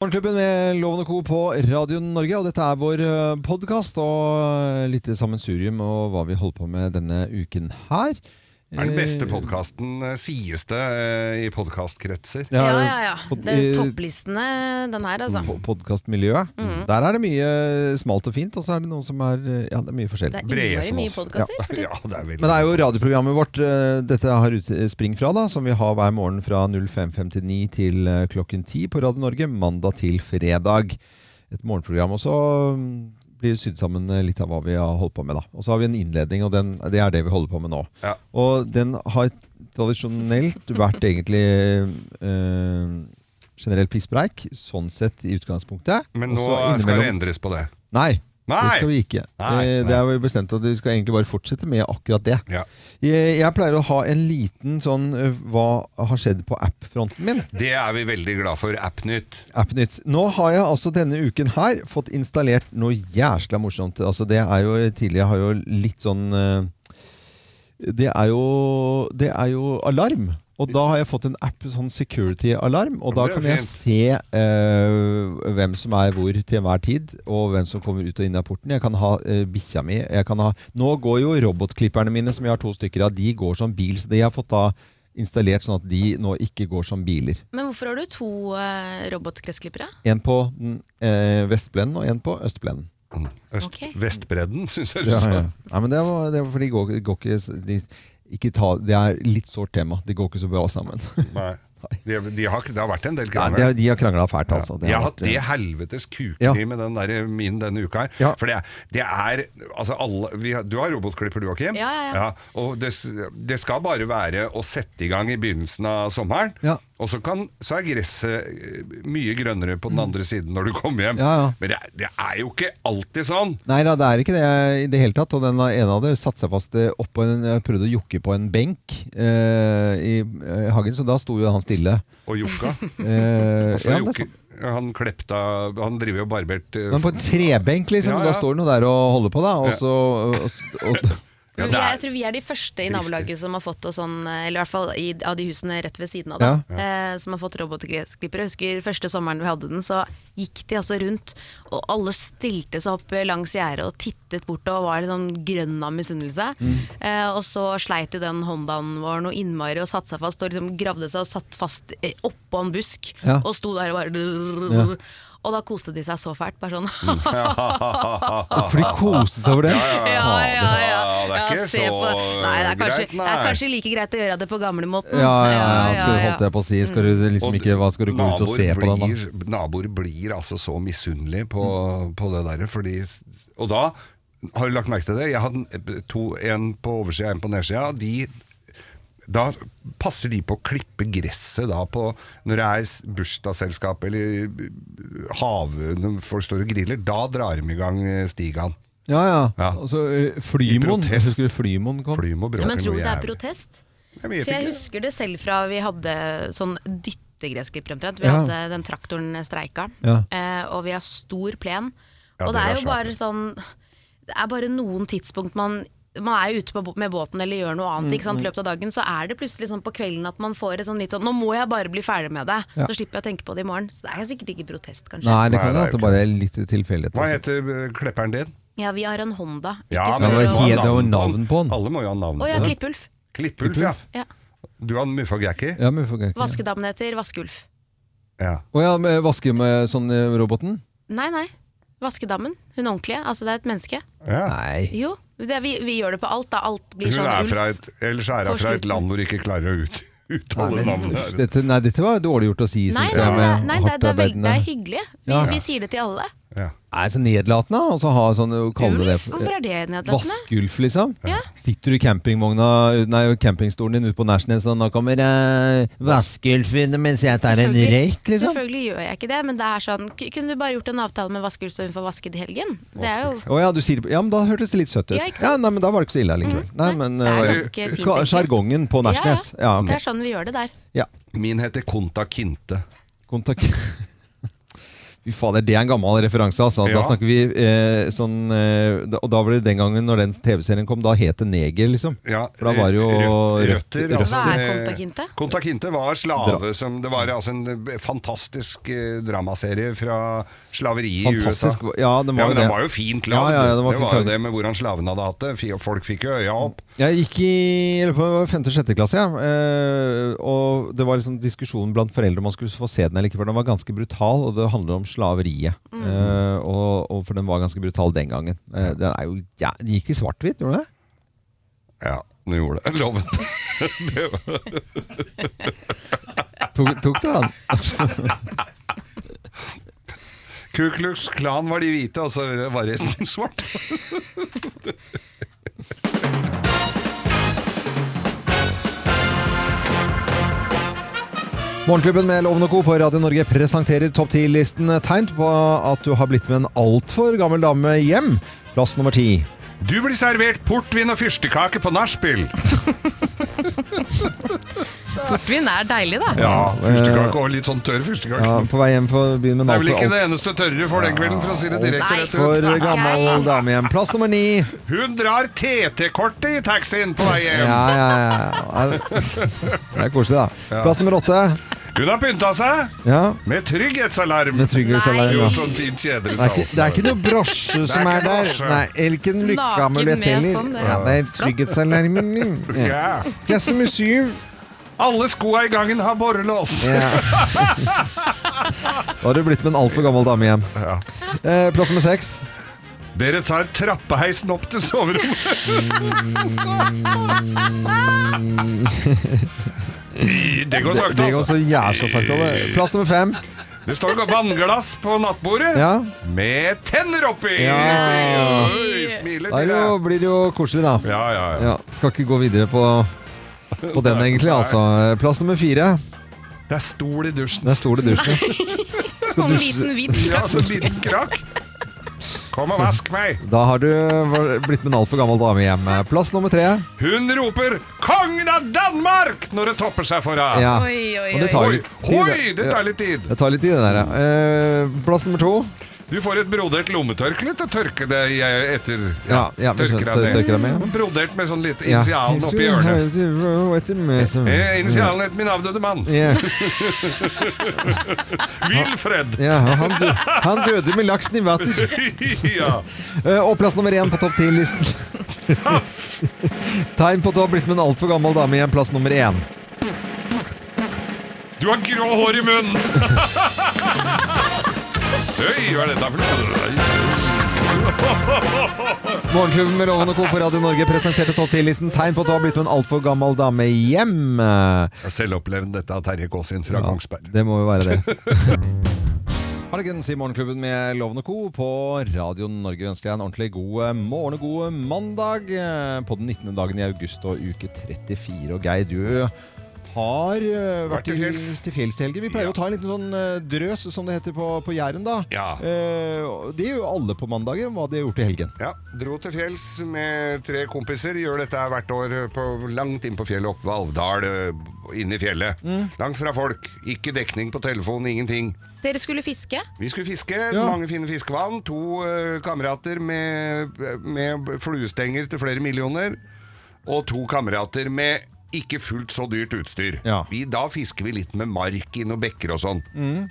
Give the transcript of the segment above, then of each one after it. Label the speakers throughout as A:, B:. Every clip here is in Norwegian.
A: Morgenklubben med Loven og Co. på Radio Norge, og dette er vår podkast og eh, litt sammensurium og hva vi holder på med denne uken her.
B: Det er den beste
C: Eh.
B: podkasten, sies det eh, i podkastkretser.
A: Ja,
C: Ja, ja, ja. Eh,
A: pod- eh,
C: Det er topplistene, den her, altså.
A: po- Podkastmiljøet.
C: Mm.
A: Der er det mye eh, smalt og fint, og så er det noen som er eh, Ja, det er mye
C: Det
A: forskjellig.
C: er
B: Brede
C: innmari
B: som
C: mye
B: oss.
C: podkaster. for
B: Ja, det er veldig
A: Men det er jo radioprogrammet vårt eh, dette har utspring fra, da, som vi har hver morgen fra 05.59 til eh, klokken 10 på Radio Norge, mandag til fredag. Et morgenprogram. Og så mm, blir det sydd sammen eh, litt av hva vi har holdt på med. da. Og så har vi en innledning, og den, det er det vi holder på med nå.
B: Ja.
A: Og den har tradisjonelt vært egentlig eh, generell pisspreik, sånn sett i utgangspunktet.
B: Men
A: Og
B: nå
A: så
B: skal det
A: innimellom-
B: endres på det.
A: Nei,
B: Nei!
A: det skal vi ikke.
B: Nei,
A: Eh, Det
B: nei.
A: er jo bestemt at vi skal egentlig bare fortsette med akkurat det.
B: Ja.
A: Jeg, jeg pleier å ha en liten sånn eh, Hva har skjedd på app-fronten min?
B: Det er vi veldig glad for. Appnytt.
A: App-nytt. Nå har jeg altså denne uken her fått installert noe jæsla morsomt. Altså det er jo tidligere har jo litt sånn eh, Det er jo Det er jo alarm. Og da har jeg fått en app, sånn security-alarm. Og da
B: Det er
A: kan jeg
B: fint.
A: se eh, hvem som er hvor til enhver tid, og hvem som kommer ut og inn av porten. Jeg kan ha eh, bikkja mi. Jeg kan ha Nå går jo robotklipperne mine, som jeg har to stykker av, de går som bil. Så de har jeg fått da installert sånn at de nå ikke går som biler.
C: Men hvorfor har du to uh, robotgressklippere?
A: En på den, eh, vestblenden og en på østblenden.
B: Øst,
C: Ok.
B: Vestbredden, syns jeg. du
A: Ja,
B: sa.
A: ja. Nei, men det var, det var fordi de går, går ikke, s- de, ikke ta, Det er litt sårt tema. De går ikke så bra sammen.
B: Nei. De, de har, det har vært en del
A: Nei,
B: krangler.
A: de, har- de har krangla fælt, altså.
B: jeg har
A: har
B: hatt det helvetes kukeri
A: Ja.
B: med den der eh, min denne uka her.
A: Ja.
B: For det, det er Altså, alle vi har, Du har robotklipper, du òg, Kim?
C: Ja, ja, ja.
B: og det, s- det skal bare være å sette i gang i begynnelsen av sommeren.
A: Ja.
B: Og så, kan, så er gresset eh, mye grønnere på den andre siden når du kommer hjem.
A: Mm. Ja, ja.
B: Men det, er- det er jo ikke alltid sånn!
A: Nei da, det er ikke det i det hele tatt. Og den eh, ene av det satte seg fast eh, oppå en Jeg prøvde å jokke på en benk eh, i eh, hagen, så da sto jo han stille.
B: Og Jokka.
A: Eh,
B: Så
A: ja, det er
B: Jokke
A: sant.
B: han klepta Han driver jo og barbert eh,
A: Men på en trebenk,
B: Ja,
A: liksom. og Da
B: ja.
A: står han jo der og holder på, da. Og
B: Ja.
A: så og, og,
B: Ja,
C: Men
B: det
C: vi er,
B: er-
C: jeg tror vi er de første i nabolaget som har fått oss sånn, eh, eller i hvert fall i, av de husene rett ved siden av, da, eh, som har fått robotgressklippere. Jeg husker første sommeren vi hadde den, så gikk de altså rundt, og alle stilte seg opp eh, langs gjerdet og tittet bort og var litt sånn grønn av misunnelse. Eh, og så sleit jo den Hondaen vår noe innmari og satte seg fast, og liksom gravde seg og satt fast eh, oppå en busk,
A: Ja.
C: og sto der og bare
A: Ja.
C: Og da koste de seg så fælt, bare sånn
B: Mm.
A: for de koste seg over det.
C: ja, ja, ja.
B: Ja, det er ikke
C: se
B: så
C: på- Nei, det er kanskje,
B: greit, nei.
C: Det er kanskje like greit å gjøre det på gamlemåten.
A: Ja, ja, ja,
C: ja,
A: skal du,
C: Mm.
A: holdt jeg på å si. Skal du liksom ikke, hva skal du gå ut og se på den, da?
B: blir, Naboer blir altså så misunnelige på, på det der fordi, Og da, har du lagt merke til det? Jeg hadde eh, to, en på oversida og en på nedsida. De da passer de på å klippe gresset da på Når det er s- bursdagsselskap eller hav, når folk står og griller, da drar de i gang eh, stigaen.
A: Ja, ja.
B: Ja.
A: Og så eh, Flymoen.
B: I protest.
A: Jeg husker du Flymoen kom.
B: Fly må bråke
C: Men tror
B: noe
C: du det er
B: jævlig.
C: protest?
B: Jeg
C: For jeg
B: vet ikke.
C: husker det selv fra vi hadde sånn dyttegressklipp omtrent. Vi
A: Ja.
C: hadde den traktoren streika,
A: Ja.
C: eh, og vi har stor plen.
B: Ja,
C: og det
B: dere
C: er
B: har
C: jo bare sånn Det er bare noen tidspunkt man man er jo ute på, bå- med båten eller gjør noe annet. Ikke
A: Mm,
C: sant? I løpet av dagen så er det plutselig sånn på kvelden at man får et sånn litt sånn 'Nå må jeg bare bli ferdig med det',
A: Ja.
C: så slipper jeg å tenke på det i morgen. Så det er sikkert ikke protest, kanskje.
A: Nei, det
B: Nei, det er
A: kan hende at
B: jo
A: det bare er litt altså. tilfeldighet.
B: Hva
A: også.
B: heter eh, klepperen din?
C: Ja, vi har en Honda. Ikke
B: Ja,
C: spør
B: men
A: det
C: om-
A: var
B: må ha
A: helt- det var
B: på den.
A: navn på den.
B: Alle må jo ha navn
C: Å ja,
B: på den.
C: Klippulf.
B: Klippulf, ja.
A: Klippulf.
C: Ja.
B: Du har en muffagækki?
A: Ja, men for- Å
C: Vaskedammen heter Vaskeulf.
B: Ja.
A: ja, med vaske med sånn eh, roboten?
C: Nei, nei. Vaskedammen. Hun ordentlige. Altså, det er et menneske.
B: ja.
A: Nei.
C: Jo. Det er, vi, vi gjør det på alt, da. Alt blir
B: Hun
C: sånn
B: er
C: ulv.
B: fra et, ellers er
C: På
B: hun fra et
C: slutten.
B: land hvor de ikke klarer å ut, uttale
A: Nei, men, uff,
B: navnet.
A: dette, nei, dette var dårlig gjort å si,
C: Nei,
A: syns
C: nei,
A: jeg.
C: nei,
A: Med
C: nei, det, er- det, er veldig, det
A: hardtarbeidende.
C: er hyggelig. Vi,
A: Ja.
C: vi sier det til alle.
B: Ja.
A: Nei, så nedlatende å så ha sånn å kalle det
C: Ulf? Hvorfor er det nedlatende?
A: Vaskeulf, liksom?
C: Ja.
A: Sitter du i campingvogna Nei, campingstolen din ute på Nærsnes, og nå kommer eh, Vaskeulfen mens jeg tar en
C: Selvfølgelig-
A: røyk, liksom?
C: Selvfølgelig gjør jeg ikke det, men det er sånn k- Kunne du bare gjort en avtale med Vaskeulf så hun får vasket i helgen? Det er jo
A: Å ja, du sier, ja, men da hørtes det litt søtt ut.
C: Ja,
A: Ja,
C: ikke sant? Mm.
A: nei, men Da var det ikke så ille likevel. Nei, men,
C: det er
A: øh,
C: ganske fint,
A: ka-
C: egentlig.
A: Sjargongen på
C: Ja, ja.
A: Nærsnes. Ja, ok.
C: Det er sånn vi gjør det der.
A: ja.
B: Min heter Konta Kinte.
A: Kontakt Fy fader, det er en gammel referanse. Altså.
B: Ja.
A: Da snakker vi eh, sånn eh, da, Og da var det den gangen når den TV-serien kom, da het det neger, liksom.
B: Ja,
A: For da var det jo
B: rø-
A: røtter,
B: røtter,
C: Hva
B: altså.
C: er Conta Quinte?
B: Conta Quinte var slave som Det var altså en fantastisk eh, dramaserie fra slaveriet
A: Fantastisk.
B: i USA.
A: Ja, den
B: ja, men
A: var jo det.
B: den var jo fint lagd.
A: Ja, ja, ja, den var
B: det
A: fint
B: var jo
A: lagd.
B: det med hvordan slavene hadde hatt det. Fi- Folk fikk jo øya opp.
A: Jeg gikk i jeg lurer på, det var femte og sjette klasse, ja. eh, og det var liksom diskusjon blant foreldre om man skulle få se den eller ikke, for den var ganske brutal, og det handler om slaveriet. Eh, og, og For den var ganske brutal den gangen. Eh, den, er jo, ja, den gikk i svart-hvitt, gjorde den det?
B: Ja, nå gjorde det. Lovet. Det var-
A: Tok, tok dere den?
B: Ku Klux Klan var de hvite, og så var resten svart.
A: Morgenklubben med Loven og Co. på Radio Norge presenterer topp 10-listen tegn på at du har blitt med en altfor gammel dame hjem. Plass nummer ti.
B: Du blir servert portvin og fyrstekake på nachspiel.
C: Portvin er deilig, da.
B: Ja, fyrstekake og litt sånn tørr fyrstekake.
A: eh, Ja, altså på vei hjem for å begynne
B: Det
A: med
B: er
A: en
B: vel ikke
A: altfor
B: det eneste tørre for den kvelden, for å si det direkte
C: Nei.
B: rett ut.
A: altfor gammel dame hjem. Plass nummer ni.
B: Hun drar TT-kortet i taxien på vei hjem.
A: Ja, ja, ja. Er- Det er koselig, da. Plass nummer åtte.
B: Hun har pynta seg
A: Ja,
B: med trygghetsalarm.
A: med Trygghetssalarm.
B: Jo,
A: ja.
B: sånn fint kjedelig
A: Det er, ikke, det er ikke noe brosje som er
B: ikke
A: der.
B: brosje.
A: Nei, eller ikke en
C: Naken
A: lykkeamulett
C: med
A: heller.
C: sånn, det.
A: Ja, det er trygghetsalarmen min. Ja.
B: Ja.
A: Plass nummer syv.
B: Alle skoa i gangen har borrelås.
A: Ja. Da har du blitt med en altfor gammel dame hjem.
B: Ja.
A: Eh, plass nummer seks.
B: Dere tar trappeheisen opp til soverommet. Det går
A: Mm. Det,
B: sakte,
A: det går
B: altså.
A: så jævla sakte. det. Plass nummer fem.
B: Det står ikke vannglass på nattbordet
A: Ja.
B: med tenner oppi.
A: Ja.
B: Oi, smiler
A: Da er det
B: til
A: jo,
B: deg.
A: blir det jo koselig, da.
B: Ja, ja, ja.
A: Ja, skal ikke gå videre på, på den, egentlig. altså Eh, Plass nummer fire.
B: Det er stol i dusjen.
A: Der står det dusjen. Skal
C: Sånn
A: dusje-
C: liten hvit
B: Ja,
C: krakk.
B: så liten krakk. Kom og vask meg.
A: Da har du blitt med en altfor gammel dame hjem. Plass nummer tre.
B: Hun roper 'Kongen av Danmark!' når det topper seg for henne.
A: Ja.
C: Oi, oi,
A: Og det
C: oi.
A: tar
B: Oi,
A: litt
B: oi,
A: tid.
B: det tar litt tid.
A: Det tar litt tid, det der, ja. Eh, Plass nummer to.
B: Du får et brodert lommetørkle til å tørke det i- etter.
A: Ja, ja, vi skjønte,
B: deg
A: tørker deg med, ja.
B: Brodert med sånn lite initialen oppi hjørnet. Eh,
A: hjørnet.
B: Initialen etter min avdøde mann.
A: Ja,
B: Wilfred.
A: ja, og han, dø- han døde med laksen i vater.
B: ja.
A: Eh, Og plass nummer én på topp ti-listen. Tegn på at du har blitt med en altfor gammel dame hjem. Plass nummer én.
B: Du har grå hår i munnen! Oi, hva er dette for noe?
A: Morgenklubben med Loven og Co. på Radio Norge presenterte topp ti-listen. Tegn på at du har blitt med en altfor gammel dame hjem. Eh,
B: Jeg har selv opplevd dette av Terje Kaasin fra Kongsberg.
A: Det må jo være det. Hallikens i Morgenklubben med Loven og Co. på Radio Norge. Vi ønsker deg en ordentlig god eh, morgen og god mandag eh, på den 19. dagen i august og uke 34. Og Geir, du eh, har eh, vært til fjells, til fjells i helgen. Vi pleier jo å ta en liten sånn eh, drøs, som det heter på, på Jæren, da.
B: Ja.
A: Eh, og det gjør jo alle på mandagen, hva de har gjort i helgen.
B: Ja, Dro til fjells med tre kompiser. Gjør dette her hvert år på, langt inn på fjellet oppe ved Alvdal. øh, Inne i fjellet. Langt fra folk. Ikke dekning på telefon, ingenting.
C: Dere skulle fiske?
B: Vi skulle fiske.
A: Ja.
B: Mange fine fiskevann. To øh, kamerater med, med fluestenger til flere millioner. Og to kamerater med ikke fullt så dyrt utstyr.
A: Ja.
B: Vi, da fisker vi litt med mark i noen bekker og sånn.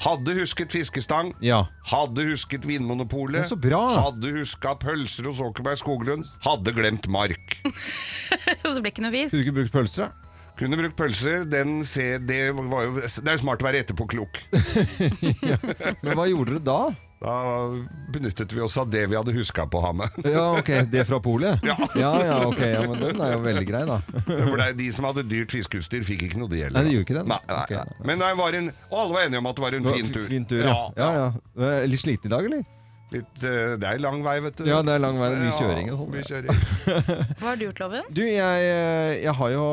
B: Hadde husket fiskestang.
A: Mm. Ja.
B: Hadde husket Vinmonopolet.
A: Men så bra.
B: Hadde huska pølser hos Åkerberg Skoglund. Hadde glemt mark.
C: Så det ble ikke noe fisk?
A: Skulle du ikke brukt pølser, da?
B: Kunne brukt pølser. Den se, det, var jo, det er jo smart å være etterpåklok.
A: Men hva gjorde dere da?
B: Da benyttet vi oss av det vi hadde huska på å ha med.
A: Ja, ok, Det fra polet? Ja. ja, ok, ja, men Den er jo veldig grei, da.
B: For det er De som hadde dyrt fiskeutstyr, fikk ikke noe, de heller.
A: Nei, de gjorde ikke det.
B: Nei, nei,
A: Ok,
B: nei. Men det var en, og alle var enige om at det var en fin tur.
A: Fin tur, ja. ja, ja. Eh, Litt sliten i dag, eller?
B: Litt, eh, det er lang vei, vet du.
A: Ja, det er lang vei. Mye kjøring og sånn.
B: Mye kjøring.
C: Hva har du gjort, Loven?
A: Du, jeg, eh, jeg har jo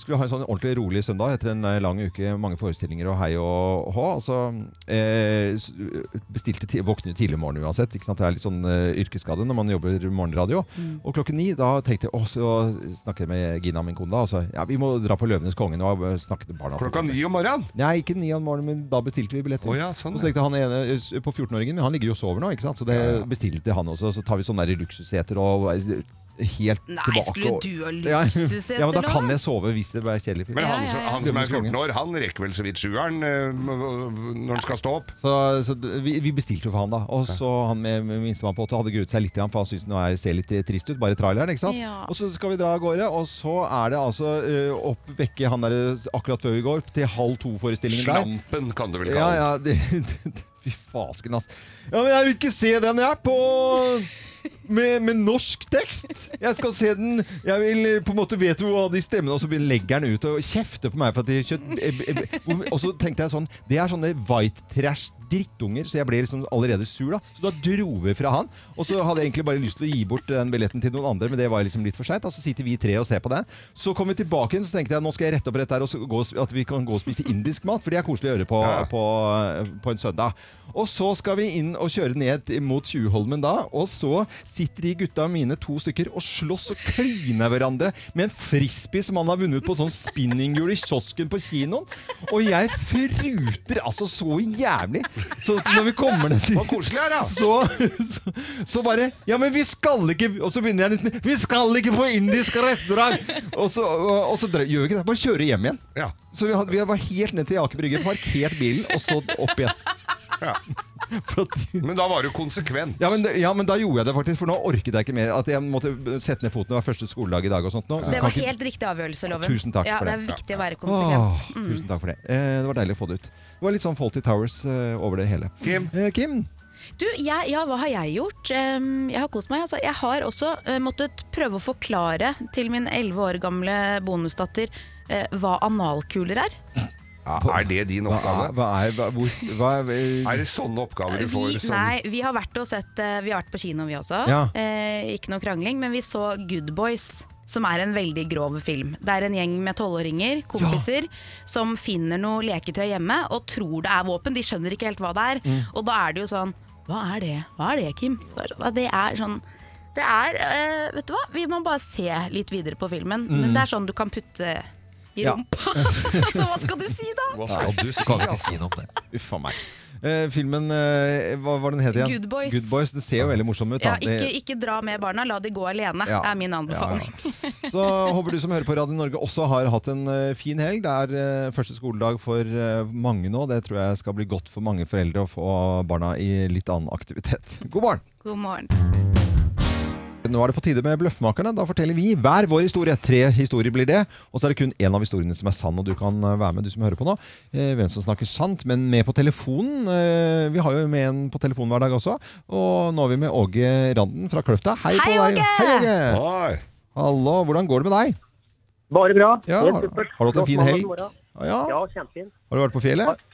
A: skulle ha en sånn ordentlig rolig søndag etter en eh, lang uke. Mange forestillinger og hei og hå. Altså, eh, s- bestilte ti- våkner jo tidlig om morgenen uansett. Ikke sant? Det er litt sånn eh, yrkesskade når man jobber morgenradio. Og klokken ni da tenkte jeg å, så snakket jeg med Gina, min kone, da. Og sa ja, vi må dra på Løvenes konge nå. og snakke til barna.
B: Klokka ni om morgenen.
A: Nei, ikke ni om morgenen, men da bestilte vi billetter.
B: Å ja, sånn,
A: og så tenkte han ene s- på 14-åringen, men han ligger jo og sover nå, ikke sant? Så det bestilte han også. Så tar vi sånne der luksusseter og er helt
C: Nei,
A: tilbake.
C: skulle
A: og-
C: du ha
A: Ja,
C: luksusseter,
A: Ja, men da
C: Loven?
A: kan jeg sove hvis det er kjedelig.
B: Men
C: Ja,
B: han,
C: ja,
B: som-
C: ja.
B: han som er
A: Dømmes konge.
B: 14 år, han rekker vel så vidt sjueren eh, når han skal stå opp.
A: Så, så d- vi, vi bestilte jo for han, da. Og så han med med minstemann på åtte hadde gruet seg litt, grann, for han syntes nå er- ser litt trist ut. Bare traileren, ikke sant.
C: Ja.
A: Og så skal vi dra av gårde, og så er det altså ø, opp vekke han derre akkurat før vi går, til halv to-forestillingen der.
B: Slampen kan du vel
A: Ja,
B: kalle den.
A: ja, det, det, det, Fy fasken, ass. Ja, men jeg vil ikke se den jeg på med, med norsk tekst! Jeg skal se den Jeg vil på en måte vet hva de stemmene Og så begynner- legger han ut og kjefter på meg for at de kjøtt... eh, eh, eh, Og så tenkte jeg sånn Det er sånne white trash drittunger, så jeg ble liksom allerede sur da. Så da dro vi fra han. Og så hadde jeg egentlig bare lyst til å gi bort den billetten til noen andre, men det var liksom litt for seint. Så sitter vi tre og ser på den. Så kom vi tilbake igjen, så tenkte jeg nå skal jeg rette opp rett der og så gå, og sp- at vi kan gå og spise indisk mat, for det er koselig å gjøre på,
B: Ja.
A: på, på en søndag. Og så skal vi inn og kjøre ned mot Tjuvholmen da, og så sitter de gutta mine to stykker og slåss og kliner hverandre med en frisbee som han har vunnet på sånn spinninghjul i kiosken på kinoen. Og jeg fruter altså så jævlig. Så når vi kommer ned
B: Hvor
A: til
B: koselig er det, altså!
A: så, så, så bare Ja, men vi skal ikke Og så begynner jeg nesten Vi skal ikke på indisk restaurant! Og så, og, og så drø- gjør vi ikke det. Bare kjører hjem igjen.
B: Ja.
A: Så vi, hadde, vi var helt ned til Aker Brygge, parkert bilen og så opp igjen.
B: Ja.
A: For at,
B: Men da var du konsekvent.
A: ja, men, det- ja, men da gjorde jeg det faktisk, for nå orket jeg ikke mer. At jeg måtte sette ned foten. Det var første skoledag i dag og sånt nå. så
C: Det
A: kan
C: var
A: ikke-
C: helt riktig avgjørelse, Loven.
A: Tusen takk
C: ja,
A: for
C: Det
A: det.
C: er viktig å være konsekvent.
A: Åh, Tusen takk for det. Eh, det var deilig å få det ut. Det var litt sånn Faulty Towers eh, over det hele.
B: Kim.
A: Eh, Kim?
C: Du, jeg, ja, hva har jeg gjort? Ehm, jeg har kost meg. Altså. Jeg har også eh, måttet prøve å forklare til min 11 år gamle bonusdatter eh, hva analkuler er.
B: Ja, er det din
A: Hva er,
B: oppgave?
A: hva er, hva, hvor, hva er eh,
B: Er det sånne oppgaver du
C: Vi,
B: får? som-
C: nei, vi har vært og sett eh, Vi har vært på kino, vi også.
A: Ja.
C: Eh, ikke noe krangling, men vi så Good Boys. Som er en veldig grov film. Det er en gjeng med tolvåringer, kompiser, som finner noe leketøy hjemme og tror det er våpen. De skjønner ikke helt hva det er.
A: Mm.
C: Og da er det jo sånn Hva er det? Hva er det, Kim? Så er det sånn, Det er sånn Det er eh, Vet du hva, vi må bare se litt videre på filmen. Men det er sånn du kan putte i
A: Mm. Ja.
C: rumpa. altså, hva skal du si da?
B: Hva skal du si?
D: Kan ikke si noe om det.
A: Uff a meg. Eh, filmen eh, Hva var den het igjen?
C: Good Boys.
A: Good Boys. Den ser jo veldig morsom ut.
C: Ja,
A: da. Det-
C: ikke, ikke dra med barna, la de gå alene,
A: Ja.
C: er min anbefaling.
A: Ja, ja. Så håper du som hører på Radio Norge også har hatt en eh, fin helg. Det er eh, første skoledag for eh, mange nå. Det tror jeg skal bli godt for mange foreldre å få barna i litt annen aktivitet. God morgen!
C: God morgen.
A: Nå er det på tide med Bløffmakerne. Da forteller vi hver vår historie. Tre historier blir det. Og så er det kun én av historiene som er sann, og du kan eh, være med, du som hører på nå. Eh, Hvem som snakker sant, men med på telefonen. Eh, Vi har jo med en på telefonen hver dag også. Og nå er vi med Åge Randen fra Kløfta. Hei,
C: Hei,
A: på deg.
C: Åge!
A: Hei, Åge!
B: Oi.
A: Hallo, hvordan går det med deg?
E: Bare bra.
A: Ja,
E: Helt
A: har
E: supert.
A: har du hatt en fin
E: Flott
A: helg?
E: mandag morgen.
A: Ah, Ja.
E: Ja, Ah. kjempefin.
A: Har du vært på fjellet?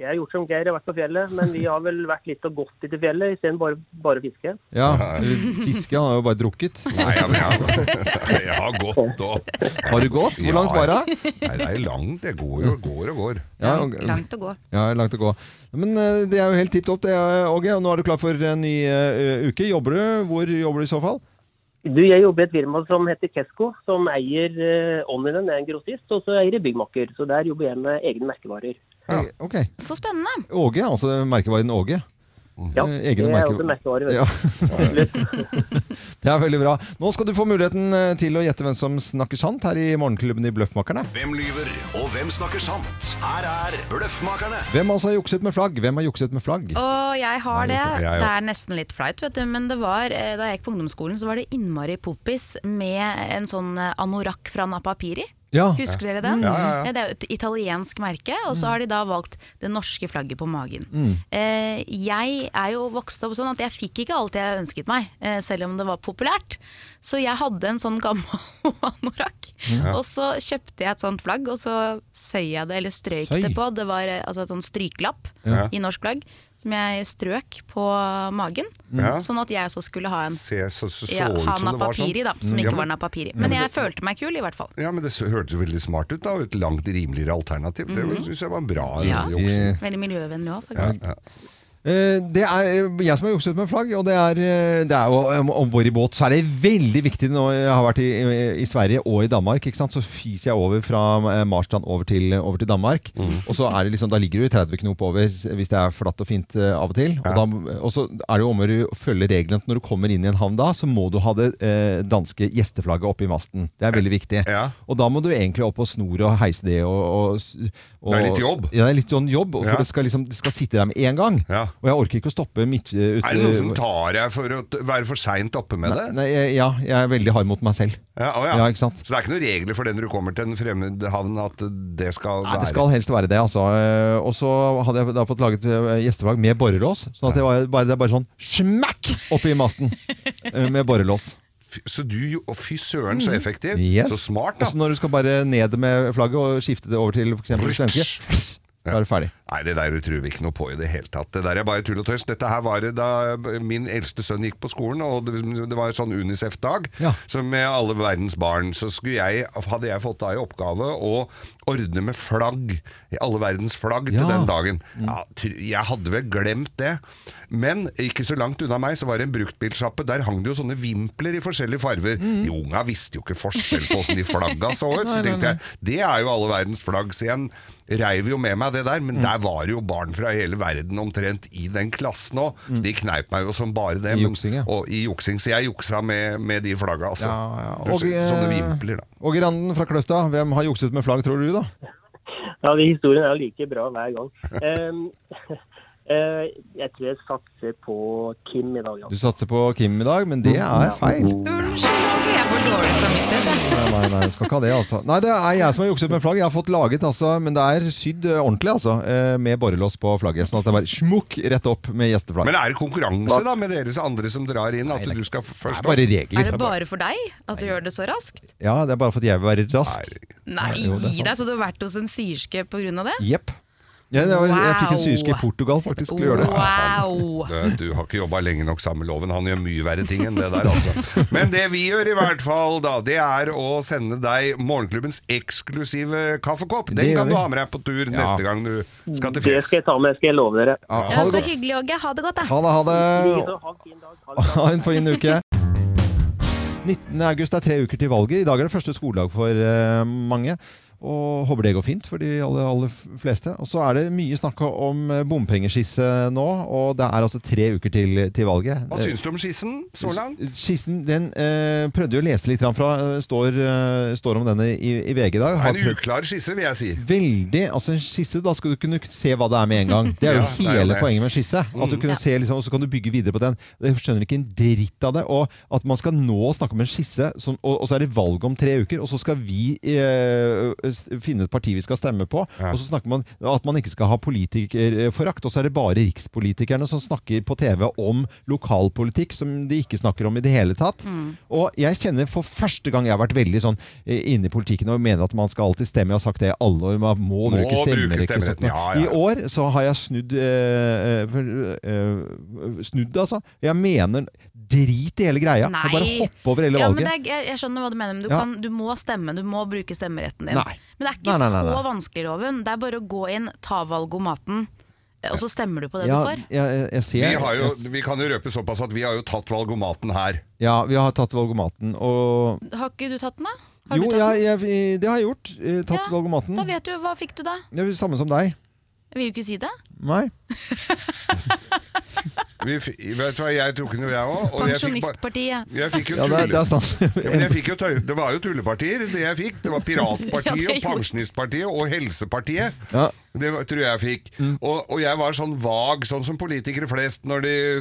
E: Jeg har gjort som Geir, jeg har vært på fjellet, men vi har vel vært litt og gått litt i fjellet isteden bare, bare fiske.
A: Ja. Fiske, han har jo bare drukket.
B: Nei, ja, men jeg, jeg har gått opp.
A: Har du gått? Hvor langt var det?
B: Nei, det er langt. Det går jo går og går.
A: Ja,
C: Lang-
A: og-
C: Langt å gå.
A: ja, langt å gå. Men eh, det er jo helt tipp topp, det, eh, Åge. Og nå er du klar for en ny eh, uke. Jobber du? Hvor jobber du i så fall?
E: Du, jeg jobber i et firma som heter Kesko, som eier eh, Omninen, er en grossist, og så eier jeg byggmaker. Så der jobber jeg med egne merkevarer.
A: Ja. Eh, Ok.
C: Så spennende.
A: Åge, altså merkevaren Åge.
E: Ja,
A: Eh,
E: det er
A: merke-
E: også merkevarer.
A: Ja,
E: vet
A: det er veldig bra. Nå skal du få muligheten eh, til å gjette hvem som snakker sant her i Morgenklubben i Bløffmakerne.
F: Hvem lyver, og hvem snakker sant? Her er Bløffmakerne.
A: Hvem altså har jukset med flagg? Hvem har jukset med flagg?
C: Og jeg har det.
B: gjort det, jeg
C: Det er nesten litt flaut, vet du. Men det var, eh, da jeg gikk på ungdomsskolen, så var det innmari popis med en sånn eh, anorakk fra Napapiri.
A: Ja.
C: Husker dere den?
B: Ja, ja, ja.
C: Eh, Det er jo et italiensk merke, og så har de da valgt det norske flagget på magen. Eh, Jeg er jo vokst opp sånn at jeg fikk ikke alt jeg ønsket meg, eh, selv om det var populært. Så jeg hadde en sånn gammel anorakk, og så kjøpte jeg et sånt flagg, og så søy jeg det, eller strøyk
A: Søy?
C: det på. Det var eh, altså, et sånn strykelapp
B: Ja.
C: i norsk flagg. som jeg strøk på magen.
B: Ja.
C: Sånn at jeg også skulle ha en.
B: Se, så, så, så
C: Ja,
B: ut
C: ha
B: som det var sånn.
C: napapiri, da, som
B: Mm.
C: ikke
B: ja,
C: var
B: men,
C: napapiri. Men jeg følte meg kul, i hvert fall.
B: ja, men det s- hørtes jo veldig smart ut, da. og Et langt rimeligere alternativ. Det syns jeg var bra.
C: Mhm. Ja.
B: eh,
A: Vi-
B: juksen.
C: Veldig miljøvennlig òg, faktisk.
B: Ja.
A: Eh, Det er eh, jeg som har jukset med flagg, og det er, eh, det er jo om- om bord i båt. Så er det veldig viktig nå eh, jeg har vært i, i- i Sverige og i Danmark, ikke sant? så fiser jeg over fra eh, Marstrand over til, over til Danmark.
B: Mm.
A: Og så er det liksom, da ligger du i 30 knop over s- hvis det er flatt og fint eh, av og til. Og, da, og så er det jo om å gjøre å følge reglene at når du kommer inn i en havn da, så må du ha det eh, danske gjesteflagget oppe i masten. Det er veldig viktig.
B: Ja.
A: Og da må du egentlig opp og snore og heise det og, og, s- og
B: Det er litt jobb.
A: Ja, det er litt sånn jobb, for
B: Ja.
A: det skal, liksom, det skal sitte der med en gang.
B: Ja.
A: Og jeg orker ikke å stoppe midt eh, ute.
B: Er det noen som tar deg for å t- være for seint oppe med det?
A: Nei, jeg, ja, jeg er veldig hard mot meg selv.
B: Ja, å ja.
A: Ja, ikke sant?
B: Så det er ikke noen regler for det når du kommer til en fremmed havn at det skal
A: Nei,
B: være
A: det skal helst være det, altså. Eh, Og så hadde jeg da fått laget eh, gjesteflagg med borrelås, sånn at det, var bare, det er bare sånn smakk oppi masten eh, med borrelås.
B: Fy- Så du jo å, Fy søren, så effektiv.
A: Mhm. Yes.
B: Så smart, da.
A: Og så når du skal bare ned med flagget og skifte det over til f.eks. det svenske, da er du ferdig.
B: Nei, det der tror vi ikke noe på i det hele tatt. Det der er bare tull og tøys. Dette her var det da min eldste sønn gikk på skolen, og det, det var sånn UNICEF-dag.
A: Ja.
B: Så med alle verdens barn, så skulle jeg, hadde jeg fått da i oppgave å ordne med flagg. Alle verdens flagg
A: Ja.
B: til den dagen. Ja, tr- jeg hadde vel glemt det. Men ikke så langt unna meg så var det en bruktbilsjappe. Der hang det jo sånne vimpler i forskjellige farver. De unga visste jo ikke forskjell på åssen de flagga så ut. Så tenkte jeg, det er jo alle verdens flagg. Så jeg reiv jo med meg det der. Men der var det jo barn fra hele verden omtrent i den klassen òg. Så de kneip meg jo som bare det.
A: I
B: men-
A: juksing, ja.
B: Og i juksing. Så jeg juksa med, med de flagga, altså.
A: Og, eh,
B: Så- sånne vimpler, da.
A: Åge Randen fra Kløfta, hvem har jukset med flagg, tror du, da?
E: Ja, de historien er jo like bra hver gang. Ehm, eh, jeg tror jeg satser på Kim i dag, ja.
A: Du satser på Kim i dag, men det
B: Mm.
A: er feil.
C: Unnskyld, Åge, jeg får dårlig samvittighet. jeg.
A: Nei, nei, nei, du skal ikke ha det, altså. Nei, det er jeg som har jukset med flagg. Jeg har fått laget, altså, men det er sydd eh, ordentlig, altså, eh, med borrelås på flagget. Sånn at det bare smukk rett opp med gjesteflagg.
B: Men er det konkurranse da med dere andre som drar inn? At du skal f-
A: Det
B: først
A: er bare
C: Er
A: regler.
C: det bare for deg at du gjør det så raskt?
A: Ja, det er bare for at jeg vil være rask.
B: Nei.
C: Nei,
A: Jo, det er
C: gi deg! Så du har vært hos en syerske pga. det?
A: Jepp. Ja, det var, jeg fikk en
C: Wow.
A: syerske i Portugal, faktisk. til å gjøre det.
C: Wow!
B: Det- Du har ikke jobba lenge nok sammen med loven. Han gjør mye verre ting enn det der, altså. Men det vi gjør i hvert fall, da, det er å sende deg morgenklubbens eksklusive kaffekopp. Den
A: Det gjør
B: kan du
A: vi.
B: ha med deg på tur
A: Ja.
B: neste gang du skal til
E: Det
B: fjells.
E: skal jeg ta med, skal jeg love dere.
A: Ja,
C: Ja,
A: ha det
C: så
A: godt.
C: hyggelig, Åge. Ha det godt, da.
A: Ha det, ha det.
E: Likeså, ha en fin dag. Ha det bra.
A: Ha en fin uke. 19. august er tre uker til valget. I dag er det første skoledag for eh, mange. Og håper det går fint for de aller, aller fleste. Og så er det mye snakk om eh, bompengeskisse nå, og det er altså tre uker til, til valget.
B: Hva syns du om skissen så langt?
A: Skissen den eh, prøvde jo å lese litt grann fra, eh, står, eh, står om denne i, i VG i dag.
B: Det
A: Har
B: er en
A: prøvd-
B: uklar skisse, vil jeg si.
A: Veldig, altså en skisse, da skal du kunne se hva det er med en gang. Det er
B: Ja,
A: jo
B: det er jo
A: hele
B: det.
A: poenget med en skisse. At du kunne se liksom, Og så kan du bygge videre på den. Jeg skjønner ikke en dritt av det. Og at man skal nå snakke om en skisse, sånn, og, og så er det valg om tre uker, og så skal vi eh, s- finne et parti vi skal stemme på, og så snakker man at man ikke skal ha politikerforakt, og så er det bare rikspolitikerne som snakker på TV om lokalpolitikk som de ikke snakker om i det hele tatt. Og jeg kjenner for første gang jeg har vært veldig sånn eh, inne i politikken og mener at man skal alltid stemme. Jeg har sagt det i alle år. Man må,
B: Må
A: bruke
B: bruke
A: stemmerekke.
B: stemmeretten,
A: sånt noe.
B: ja, ja.
A: I år så har jeg snudd eh, eh, for, eh, Snudd, altså. Jeg mener drit i hele greia.
C: Nei.
A: Og bare hoppe over hele
C: Ja, men
A: valget.
C: det er, jeg, jeg skjønner hva du mener, men du,
A: Ja.
C: kan, du må stemme. Du må bruke stemmeretten din.
A: Nei.
C: Men det er ikke
A: Nei, nei, nei, nei.
C: så vanskelig, Loven. Det er bare å gå inn, ta valgomaten, eh, og så stemmer du på det
A: ja,
C: du får.
A: jeg, jeg ser,
B: Vi, har jo,
A: jeg,
B: vi kan jo røpe såpass at vi har jo tatt valgomaten her.
A: ja, vi har tatt valgomaten, og
C: Har ikke du tatt den, da? Har
A: Jo,
C: du tatt
A: jeg,
C: den?
A: jeg, det har jeg gjort. Eh, Tatt
C: Ja,
A: valgomaten.
C: Da vet du, Hva fikk du da?
A: Det er jo samme som deg.
C: Jeg vil du ikke si det?
A: Nei.
B: Vi, f- vet du hva, jeg tok den jo, jeg òg. Og jeg fikk, ba-
C: Pensjonistpartiet.
B: jeg fikk jo
A: Ja, det, er- det
B: tulle-
A: er snart.
B: Ja, men jeg fikk jo tøy, det var jo tullepartier, det jeg fikk. Det
C: Ja,
B: var Piratpartiet,
C: det
B: og
C: gjorde-
B: Pensjonistpartiet og Helsepartiet.
A: Ja. Mm.
B: Det var- tror jeg jeg fikk. Og, og jeg var sånn vag, sånn som politikere flest, når de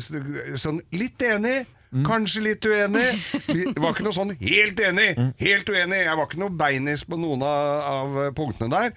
B: Sånn litt enig.
A: Mm.
B: Kanskje litt uenig. Det var ikke noe
A: Mm.
B: sånn helt enig, helt uenig. Jeg var ikke noe beinis på noen av, av eh, punktene der.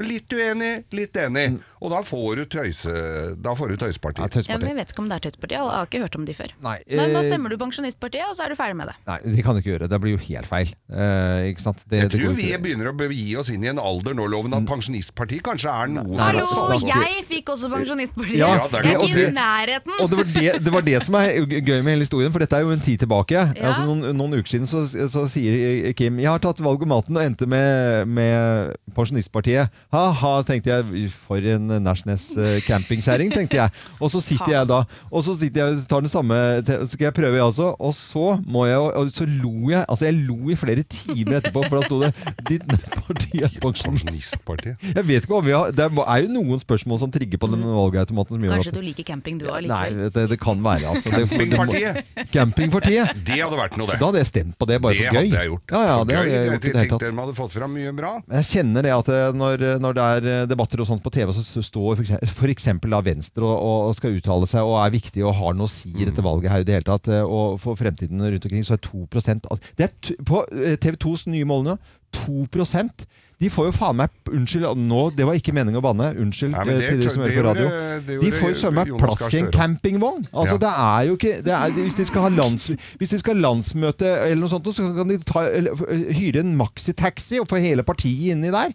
B: Litt uenig, litt enig. Og da får du, tøyse, da får du
A: Mm. Ja,
B: tøysepartier.
C: Ja, men
A: Tøysepartiet.
C: jeg vet ikke om det er Tøytpartiet, jeg har ikke hørt om de før.
A: Nei,
C: Nei, men da
A: eh,
C: stemmer du Pensjonistpartiet, og så er du ferdig med det.
A: Nei, de kan ikke gjøre det. Det blir jo helt feil. Eh, ikke sant? Det,
B: Jeg
A: det går
B: tror vi
A: ikke. Mm.
B: begynner å begi oss inn i en alder nå, Loven, at pensjonistpartiet kanskje er noe
A: Nei,
C: Hallo,
A: altså, altså,
C: jeg fikk også Pensjonistpartiet!
A: Ja,
B: Ja, det er
C: jeg
B: klart.
C: er
B: Og
C: ikke
B: det-
C: i nærheten!
A: Og det var det, det var det som er gøy med hele historien, for dette er jo en tid tilbake. Altså, noen, noen uker siden så, så sier Kim Jeg har tatt valg om maten og endte med, med Pensjonistpartiet. Ha-ha, tenkte jeg. For en Nashnes eh, campingkjerring, tenkte jeg. Og så sitter jeg da Og så sitter jeg og tar den samme te- Så skal jeg prøve, jeg også. Og så må jeg jo- Og så lo jeg. Altså, jeg lo i flere timer etterpå, for da sto det Ditt parti er pensjonist.
B: Pensjonistpartiet.
A: Jeg vet ikke om vi har Det er jo noen spørsmål som trigger på den valgautomaten. som gjør at-
C: Kanskje du liker camping du òg, likevel.
A: Nei, det, det kan være. Altså. Det-
B: Campingpartiet.
A: det må- Campingpartiet.
B: Det hadde vært noe, det.
A: Da hadde jeg stemt på det, bare
B: det
A: for gøy.
B: hadde jeg gjort.
A: Ja, ja,
B: For
A: det hadde
B: gøy,
A: jeg
B: jeg
A: gjort i det hele
B: tenkte
A: tatt.
B: de hadde fått fram mye bra.
A: Jeg kjenner det at eh, når, når det er eh, debatter og sånt på TV, så s- står f.eks. da Venstre og, og- og skal uttale seg og er viktige og har noe å si i
B: Mm.
A: dette valget her i det hele tatt, eh, og for fremtiden rundt omkring, så er 2 av- det er t På TV 2s nye mål nå 2 de får jo faen meg Unnskyld, nå, det var ikke meningen å banne. Unnskyld
B: Nei, men
A: eh,
B: det
A: til
B: tør-
A: de som
B: det
A: hører på radio.
B: gjorde- det
A: de
B: gjorde
A: får jo søren meg
B: Jonas Gahr
A: plass i en
B: Støre.
A: campingvogn! Altså,
B: Ja.
A: det er jo ikke det er, Hvis de skal ha lands, hvis de skal ha landsmøte eller noe sånt, så kan de ta, eller, f- eh, hyre en maxitaxi og få hele partiet inni der.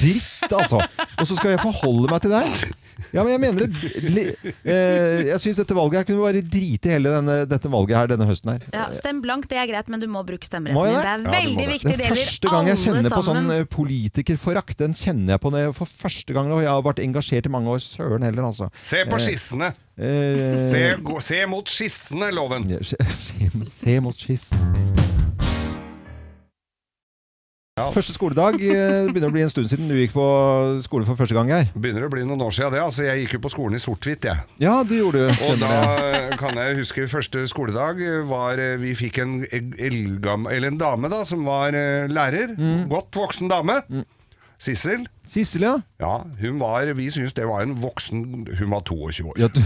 A: Dritt, altså! Og så skal jeg forholde meg til det? Ja, men jeg mener det li- eh, Jeg syns dette valget her kunne bare drite i hele denne, dette valget her denne høsten her.
C: Ja, stem blankt, det er greit, men du må bruke stemmeretten
A: Må
C: din.
A: jeg
C: Det
A: det?
C: er
B: Ja, du må
C: veldig
B: det.
C: viktig, det
A: Den første
C: gjelder
A: gang
C: alle
A: jeg kjenner på sånn
C: sammen.
A: eh, politikerforakt, den kjenner jeg på når jeg- for første gang. Og jeg har vært engasjert i mange år. Søren heller, altså.
B: Se på skissene!
A: Eh,
B: Se, gå- se mot skissene, Loven!
A: ja, se, se, se mot skissen. Første skoledag. eh, Det begynner å bli en stund siden du gikk på skole for første gang her.
B: Begynner å bli noen år siden det. Altså, jeg gikk jo på skolen i sort-hvitt, jeg.
A: Ja, du gjorde det.
B: Og
A: Stemmer det.
B: da eh, kan jeg huske første skoledag var eh, Vi fikk en, eldgam, eller en dame da som var eh, lærer.
A: Mm.
B: Godt voksen dame. Sissel.
A: Sissel, ja.
B: Ja, hun var Vi syntes det var en voksen Hun var 22 år.
A: Ja, du-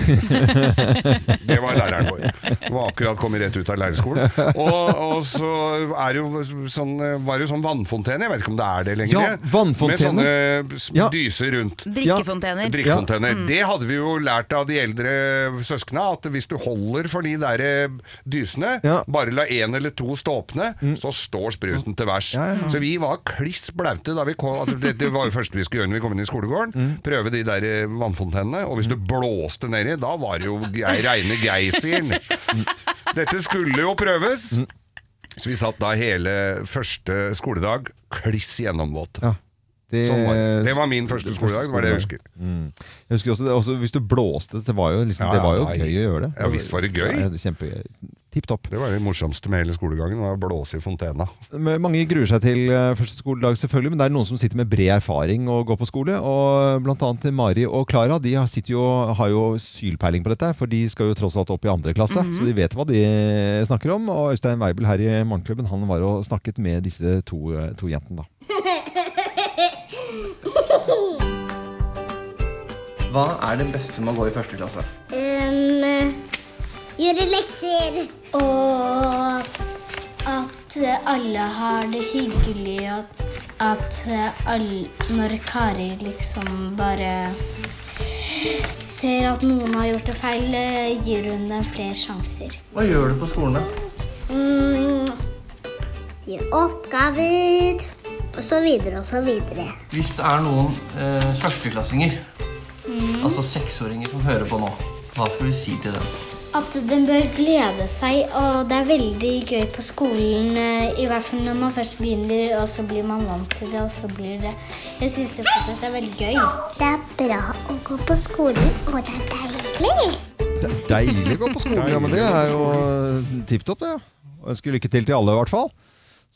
B: Det var læreren vår. Hun var akkurat kommet rett ut av lærerskolen. Og, og så er det jo sånn, var det jo sånn vannfontene, jeg vet ikke om det er det lenger.
A: Ja, vannfontene.
B: Med sånne s-
A: Ja.
B: dyser rundt.
C: Drikkefontener.
B: Drikkefontener. Det hadde vi jo lært av de eldre søskna, at hvis du holder for de der eh, dysene,
A: Ja. Mm.
B: bare la én eller to stå åpne, så står spruten til værs.
A: Ja, ja, ja.
B: Så vi var kliss blaute da vi kom altså, det, det var jo første vi skulle gjøre når vi kom inn i skolegården.
A: Mm.
B: Prøve de der eh, vannfontenene. Og hvis du blåste nedi, da var det jo ge- reine geysiren. Dette skulle jo prøves.
A: Mm.
B: Så vi satt da hele første skoledag kliss gjennomvåte.
A: ja. Eh, Det,
B: Sånn var det. det var min første skoledag, det var det jeg husker.
A: Jeg husker også, det, også Hvis du blåste, det var jo, liksom,
B: Ja,
A: det var jo
B: ja,
A: gøy å gjøre det.
B: ja, visst var det gøy.
A: Ja, det er kjempegøy. Tipp topp.
B: Det var det morsomste med hele skolegangen, var å blåse i fontena.
A: Mange gruer seg til eh, første skoledag, selvfølgelig, men det er noen som sitter med bred erfaring og går på skole. og Blant annet Mari og Klara de har, sitter jo, har jo sylpeiling på dette, for de skal jo tross alt opp i andre klasse.
C: Mhm.
A: Så de vet hva de snakker om. Og Øystein Weibel her i Morgenklubben han var og snakket med disse to, eh, to jentene. da.
D: Hva er det beste med å gå i første klasse?
G: Um, gjøre lekser. Og s- at alle har det hyggelig, og at alle Når Kari liksom bare ser at noen har gjort det feil, eh, gir hun dem flere sjanser.
D: Hva gjør du på skolen, da?
G: Mm, gjør oppgaver, og så videre og så videre.
D: Hvis det er noen eh, førsteklassinger, altså seksåringer, som hører på nå, hva skal vi si til dem?
G: At den bør glede seg, og det er veldig gøy på skolen. eh, I hvert fall når man først begynner, og så blir man vant til det, og så blir det Jeg syns det fortsatt er veldig gøy. Det er bra å gå på skolen, og det er deilig.
A: Det er deilig å gå på skolen, ja, men det er jo tipp topp, det. Og ønsker lykke til til alle, i hvert fall.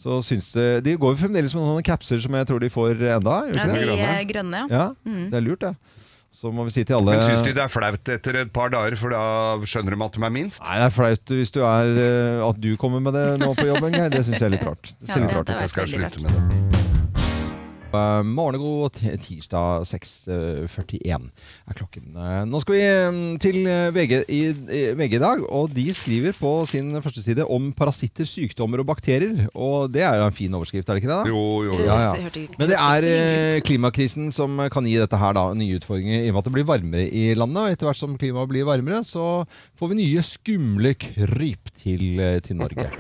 A: Så syns det, De går jo fremdeles med noen capser som jeg tror de får enda. Gjør de
C: Ja,
A: ikke det?
C: de eh, grønne. ja.
A: Ja, det er lurt, det. Så må vi si til alle
B: Men syns de det er flaut etter et par dager, for da skjønner de at de er minst?
A: Nei, det er flaut hvis du er, eh, at du kommer med det nå på jobben, Geir. Det syns jeg er litt rart. Det ser
C: Ja,
A: litt
C: det-
A: rart
C: det
A: ut.
C: var
B: Jeg skal
C: veldig
B: slutte med det.
A: Eh, Morgengod t- tirsdag 6.41 er klokken. Eh, Nå skal vi eh, til eh, VG i, i VG i dag, og de skriver på sin første side om parasitter, sykdommer og bakterier. Og det er jo en fin overskrift, er det ikke det? da?
B: Jo, jo, jo.
A: Ja,
C: Så jeg
A: ja.
C: hørte ikke-
A: Men det
C: så
A: er eh,
C: lenge.
A: klimakrisen som kan gi dette her da, nye utfordringer, i og med at det blir varmere i landet. Og etter hvert som klimaet blir varmere, så får vi nye skumle kryp til, eh, til Norge.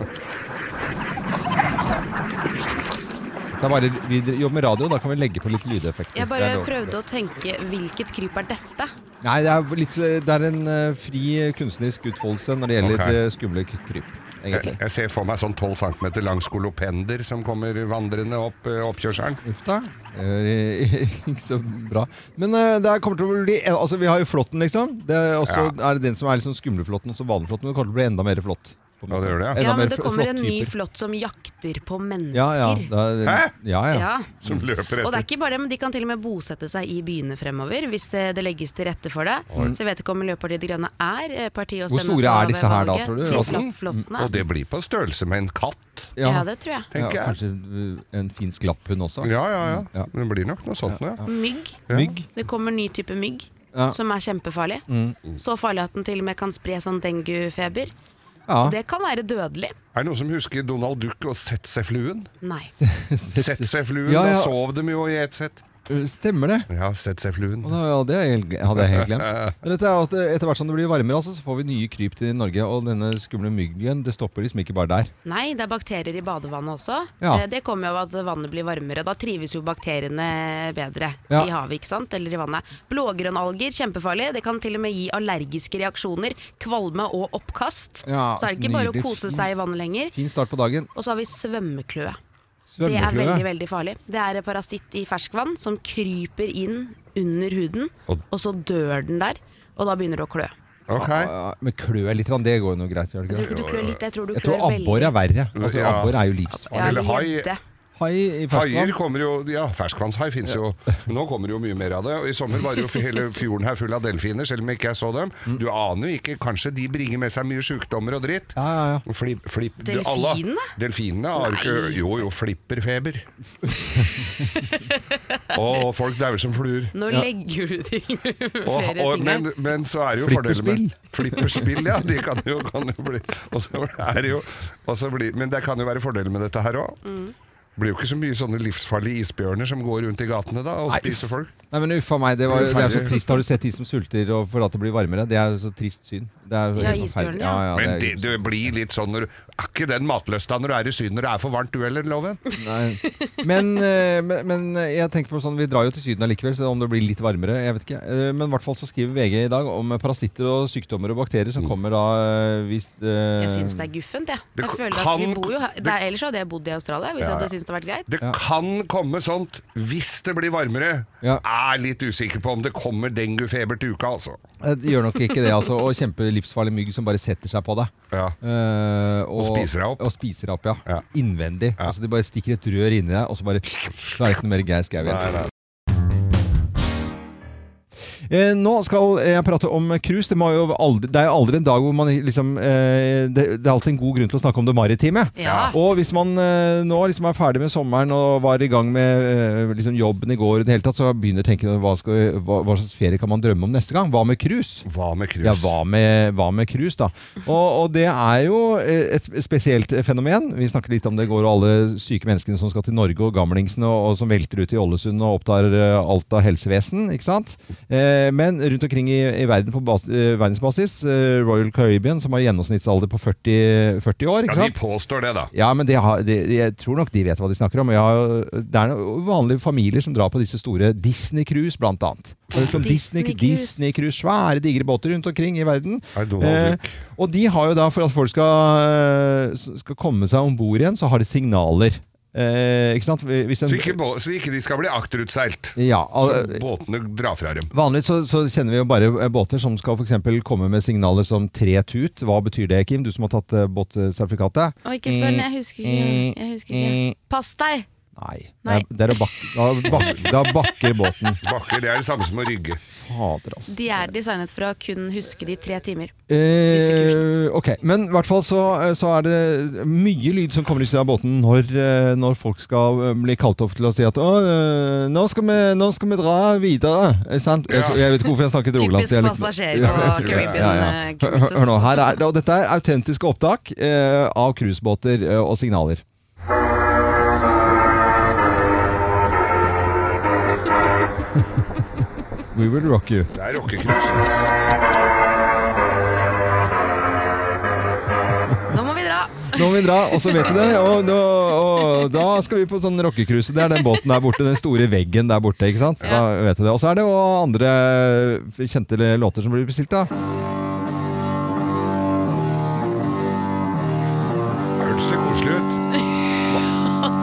A: Det er bare, vi dr- jobber med radio, da kan vi legge på litt lydeffekter.
C: Jeg
A: Det er
C: bare
A: lov.
C: prøvde å tenke hvilket kryp er dette?
A: Nei, det er, litt, eh, det er en eh, fri kunstnerisk utfoldelse når det gjelder
B: Ok.
A: eh, skumle k- kryp.
B: Jeg,
A: Egentlig.
B: jeg ser for meg sånn 12 cm lang skolopender som kommer vandrende opp eh, oppkjørselen.
A: Uff da. Eh, Ikke så bra. Men eh, det her kommer til å bli Altså, vi har jo flåtten, liksom. Det er, også, er det den som er liksom skumleflåtten og så vanlig flåtten, men det kommer til å bli enda mer flått. på en
B: Ja, det
A: måte.
B: gjør det, ja.
A: Enda
C: Ja, men
A: mer
C: det
A: fl-
C: kommer en ny
A: flått-typer.
C: flått som jakter på
A: ja, ja,
C: mennesker.
A: det er,
B: Hæ?
A: ja, ja.
C: Ja.
A: Mm.
B: Som løper
C: Og det er
B: etter.
C: ikke bare det, men de kan til og med bosette seg i byene fremover hvis eh, det legges til rette for det. Så jeg vet ikke om Miljøpartiet De Grønne er eh, partiet å
A: Hvor
C: stemme
A: store
C: på
A: er
C: ved
A: disse her da,
C: valget.
A: tror du,
C: Fy
A: Rassen?
C: flott, flottene.
B: Og det blir på størrelse med en katt,
C: ja. det tror jeg.
A: ja,
B: tenker jeg.
A: Kanskje eh, en finsk lapphund også.
B: Ja, ja,
A: Ja.
B: ja. Det blir nok noe sånt, ja.
C: Mygg.
A: Mygg.
C: Det kommer ny type mygg.
A: Ja. Mm.
C: Som er kjempefarlig. Så farlig at den til og med kan spre sånn denguefeber.
A: Ja.
C: Det kan være dødelig.
B: Er det noen som husker Donald Duck og Sett seg fluen?
C: Nei.
B: Sett seg fluen,
A: Ja,
B: da
A: ja.
B: sov dem jo i ett sett.
A: Eh, Stemmer det.
B: Ja, Sett seg fluen.
A: Og da, ja, det er helt- hadde jeg helt glemt. Men dette er at eh, etter hvert som det blir varmere, altså, så får vi nye kryp til Norge. Og denne skumle myggen, det stopper liksom ikke bare der.
C: Nei, det er bakterier i badevannet også.
A: Ja.
C: Eh, Det kommer jo av at vannet blir varmere. Da trives jo bakteriene bedre
A: Ja.
C: i havet ikke sant? eller i vannet. Blågrønnalger, kjempefarlig. Det kan til og med gi allergiske reaksjoner. Kvalme og oppkast.
A: Ja,
C: så er det ikke
A: så
C: bare å
A: nydelig.
C: kose seg i vannet lenger.
A: Fin start på dagen.
C: Og så har vi svømmekløe. Det er
A: Svømmekløe.
C: veldig veldig farlig. Det er en parasitt i ferskvann som kryper inn under huden,
B: Og-
C: og så dør den der. Og da begynner det å klø.
B: Ok.
A: Ja, men klø er litt, grann, det går jo noe greit. Gjør
C: Jeg tror
A: det ikke? det?
C: ikke du klør litt, jeg tror du
A: Jeg
C: klør
A: tror abbor
C: veldig.
A: er verre. Altså,
B: Ja.
A: Abbor er jo livsfarlig.
C: Ja,
B: Eller
C: eller
B: hai.
C: gjedde.
A: Hai i
B: Haier
A: ferskvann.
B: kommer jo Ja, ferskvannshai fins jo. Nå kommer det jo mye mer av det. Og I sommer var det jo hele fjorden her full av delfiner, selv om ikke jeg så dem.
A: Mm.
B: Du aner jo ikke. Kanskje de bringer med seg mye sjukdommer og dritt.
A: Ja, ja, ja.
B: Flipp, flipp, du,
C: Delfinene?
B: alle- delfinene har ikke
C: Nei.
B: Jo, jo, flipperfeber. og folk dauer som fluer.
C: Nå legger du til flere
B: Og, og,
C: ting
B: men,
C: her.
B: men så er det jo
A: Flipperspill.
B: Flipperspill, ja. De kan jo, kan jo bli, og så er det jo, og så blir- Men det kan jo være fordeler med dette her òg. Blir jo ikke så mye sånne livsfarlige isbjørner som går rundt i gatene da og
A: Nei,
B: spiser
A: uff.
B: folk.
A: Nei, men uff a meg, det, var,
B: Det
A: det
B: er
A: er så
B: ferdig.
A: trist. Har du sett de som sulter og for at det blir varmere? Det er jo så trist syn. Det er jo
C: Ja,
A: helt
C: isbjørnen,
A: forferdelig.
C: ja.
A: ja,
B: Men
A: det
B: det, det blir litt sånn når Er ikke den matløsta når du er i Syden når det er for varmt, du heller, Loven?
A: Nei. Men, eh, men, men jeg tenker på sånn, vi drar jo til Syden allikevel, så om det blir litt varmere, jeg vet ikke. Eh, Men i hvert fall så skriver VG i dag om parasitter og sykdommer og bakterier
B: Mm.
A: som kommer da eh, hvis
C: Jeg syns det er guffent, jeg.
B: Det
C: jeg føler at
B: kan-
C: vi bor jo her. Det er, ellers hadde jeg bodd i Australia hvis jeg
B: Ja, ja.
C: hadde syntes det hadde vært greit.
B: Det kan komme sånt hvis det blir varmere.
A: Ja.
B: Er litt usikker på om det kommer denguefeber til uka, altså.
A: Det eh, gjør nok ikke det, altså. Og kjempelivsfarlig mygg som bare setter seg på deg.
B: Ja.
A: Eh, og,
B: spiser deg opp.
A: Og spiser deg opp, ja.
B: Ja.
A: Innvendig. Altså De bare stikker et rør inni deg, og så bare Så er det ikke noe mer Geir Skau igjen.
B: Nei, nei.
A: Eh, nå skal jeg prate om cruise. Det, må jo aldri, det er jo aldri en dag hvor man liksom eh, det, det er alltid en god grunn til å snakke om det maritime.
C: Ja.
A: Og hvis man eh, nå liksom er ferdig med sommeren og var i gang med eh, liksom jobben i går, og det hele tatt, så begynner jeg å tenke hva, skal, vi- hva, hva slags ferie kan man drømme om neste gang? Hva med cruise?
B: Hva med krus?
A: Ja, hva med, hva med cruise, da? Og, og det er jo eh, et spesielt fenomen. Vi snakker litt om det i går, og alle syke menneskene som skal til Norge, og gamlingsene og, og som velter ut i Ålesund og opptar eh, alt av helsevesen, ikke sant? Eh, men rundt omkring i, i verden på bas, eh, verdensbasis, eh, Royal Caribbean, som har gjennomsnittsalder på 40, 40 år,
B: Ja,
A: ikke
B: de
A: sant?
B: påstår det, da.
A: Ja, men det har, det, Jeg tror nok de vet hva de snakker om. Jeg har, det er noen vanlige familier som drar på disse store Disney-cruise, blant annet. Har du hørt om sånn Disney-
C: Disney-cruise.
A: Disney-cruise, Svære, digre båter rundt omkring i verden. Eh,
B: Er det Donald Duck?
A: og de har jo da, for at folk skal, eh, skal komme seg om bord igjen, så har de signaler. Eh, ikke sant? Hvis en,
B: Så ikke, bå- så ikke de skal bli akterutseilt.
A: ja,
B: Så
A: al-
B: båtene drar fra dem.
A: Vanligvis så, så kjenner vi jo bare eh, båter som skal for eksempel komme med signaler som tre tut. Hva betyr det, Kim? Du som har tatt eh, båtsertifikatet.
B: Eh,
C: Og ikke spør, jeg husker ikke. Jeg husker ikke. Pass deg!
A: Nei.
C: Nei.
A: Det er- Det er å bakke, da, bak, da bakker båten.
B: Bakker, det er det samme som å rygge.
A: Fader, altså.
C: De er designet for å kun huske de tre timer.
A: Eh, ok, Men i hvert fall så, eh, så er det mye lyd som kommer ut av båten når, eh, når folk skal eh, bli kalt opp til å si at «Å, eh, nå, skal vi, 'Nå skal vi dra videre'. Eh, sant?
B: Ja.
A: Jeg, jeg vet ikke hvorfor jeg snakket rogalandsdialekt.
C: Typisk passasjer på Caribbean eh,
A: Hør,
C: Cruises.
A: hør- hør nå, her er, og dette er autentiske opptak eh, av cruisebåter eh, og signaler. We will rock you.
B: Det er rockecruise.
C: Nå må vi dra!
A: Nå må vi dra, og så vet du det. Og, da- og da skal vi på sånn rockecruise. Det er den båten der borte, den store veggen der borte. ikke sant? Da vet du det. Og så er det jo andre kjente låter som blir bestilt, da.
B: Hørtes det koselig ut?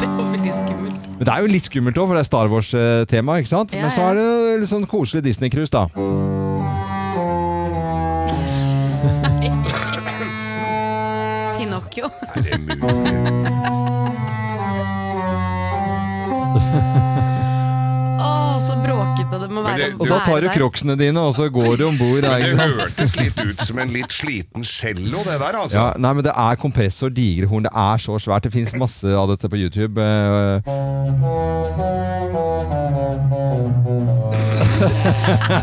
C: Det var veldig skummelt.
A: Men det er jo litt skummelt òg, for det er Star Wars-tema, ikke sant?
C: Ja,
A: Men så
C: ja.
A: er det jo litt sånn koselig Disney-cruise, da.
C: Pinocchio.
B: Er det mulig?
C: Å, så bråkete det må
B: Men
C: være.
B: det-
C: å
A: Og da tar du
C: være der.
A: crocsene dine, og så går du om bord.
B: Det hørtes litt ut som en litt sliten cello, det der, altså.
A: Ja, nei, men det er kompressor, digrehorn, det er så svært. Det fins masse av dette på YouTube. eh.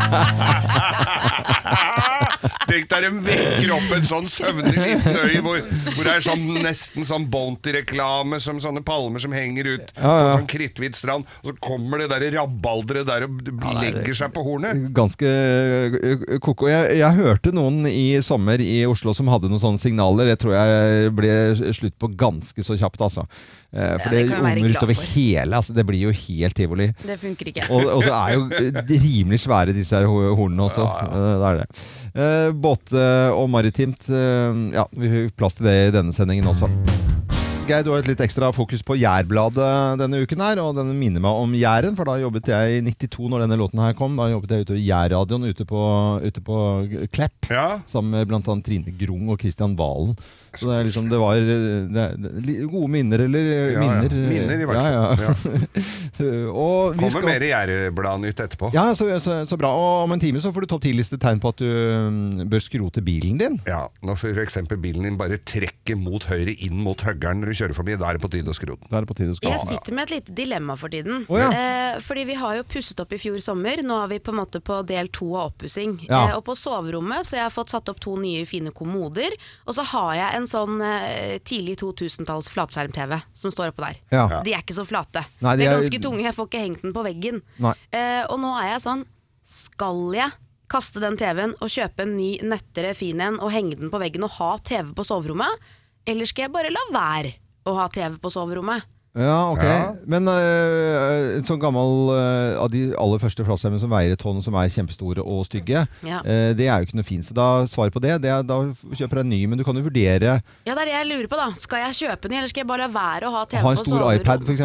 B: Tenk deg de vekker opp en sånn søvnig liten øy hvor, hvor det er sånn, nesten sånn Bounty-reklame, som sånne palmer som henger ut på
A: ja.
B: sånn kritthvit strand, og så kommer det der rabalderet der og b- legger seg på hornet.
A: Ganske eh, koko. Jeg, jeg hørte noen i sommer i Oslo som hadde noen sånne signaler. Det tror jeg ble slutt på ganske så kjapt, altså. Eh, For
C: det
A: det
C: kan jeg være
A: ommer
C: glad
A: utover
C: for.
A: hele. Altså, det blir jo helt tivoli.
C: Det funker ikke.
A: Og, og så er jo de rimelig svære disse her ho- hornene også. Eh, Det er det. Eh, Båt eh, og maritimt eh, Ja, vi fikk plass til det i denne sendingen også. Geir, du har et litt ekstra fokus på Jærbladet denne uken her, og den minner meg om Jæren, for da jobbet jeg i 92 når denne låten her kom. Da jobbet jeg ute i Jærradioen ute på, ute på Klepp.
B: Ja,
A: Sammen med bl.a. Trine Grung og Kristian Valen. Så det, er liksom, det var eh, det, det, li- gode minner, eller eh,
B: Ja, ja.
A: minner. eh,
B: Minner i hvert fall.
A: Ja, ja. og vi
B: kommer
A: skal,
B: mer Gjerdebladnytt etterpå.
A: ja, så, så, så bra. Og om en time så får du topp 10-liste tegn på at du mm, bør skrote bilen din.
B: Ja, Når f.eks. bilen din bare trekker mot høyre inn mot høggeren når du kjører forbi, da er det på tide å skrote den.
A: Da er det på tide du skal
C: Jeg sitter med et lite dilemma for tiden.
A: Å, ja.
C: eh, fordi vi har jo pusset opp i fjor sommer. Nå er vi på en måte på del to av oppussing.
A: Ja.
C: Eh, og på soverommet så jeg har fått satt opp to nye fine kommoder. Og så har jeg en sånn eh, tidlig 2000-talls flatskjerm-TV som står oppå der.
A: Ja.
C: De er ikke så flate.
A: Nei, de
C: de er
A: er-
C: ganske tunge, jeg får ikke hengt den på veggen.
A: Nei.
C: Eh, og nå er jeg sånn, skal jeg kaste den TV-en og kjøpe en ny, nettere, fin en og henge den på veggen og ha TV på soverommet? Eller skal jeg bare la være å ha TV på soverommet?
A: Ja, ok.
B: Ja.
A: Men øh, en sånn gammel øh, av de aller første flatskjermene som veier et tonn, som er kjempestore og stygge,
C: Ja.
A: øh, det er jo ikke noe fint. Så da svaret på det, det er, da kjøper du en ny, men du kan jo vurdere
C: Ja, det er det jeg lurer på da. Skal jeg kjøpe den, eller skal jeg bare la være å ha TV
A: å ha en
C: på
A: stor
C: soverommet?
A: iPad, f.eks.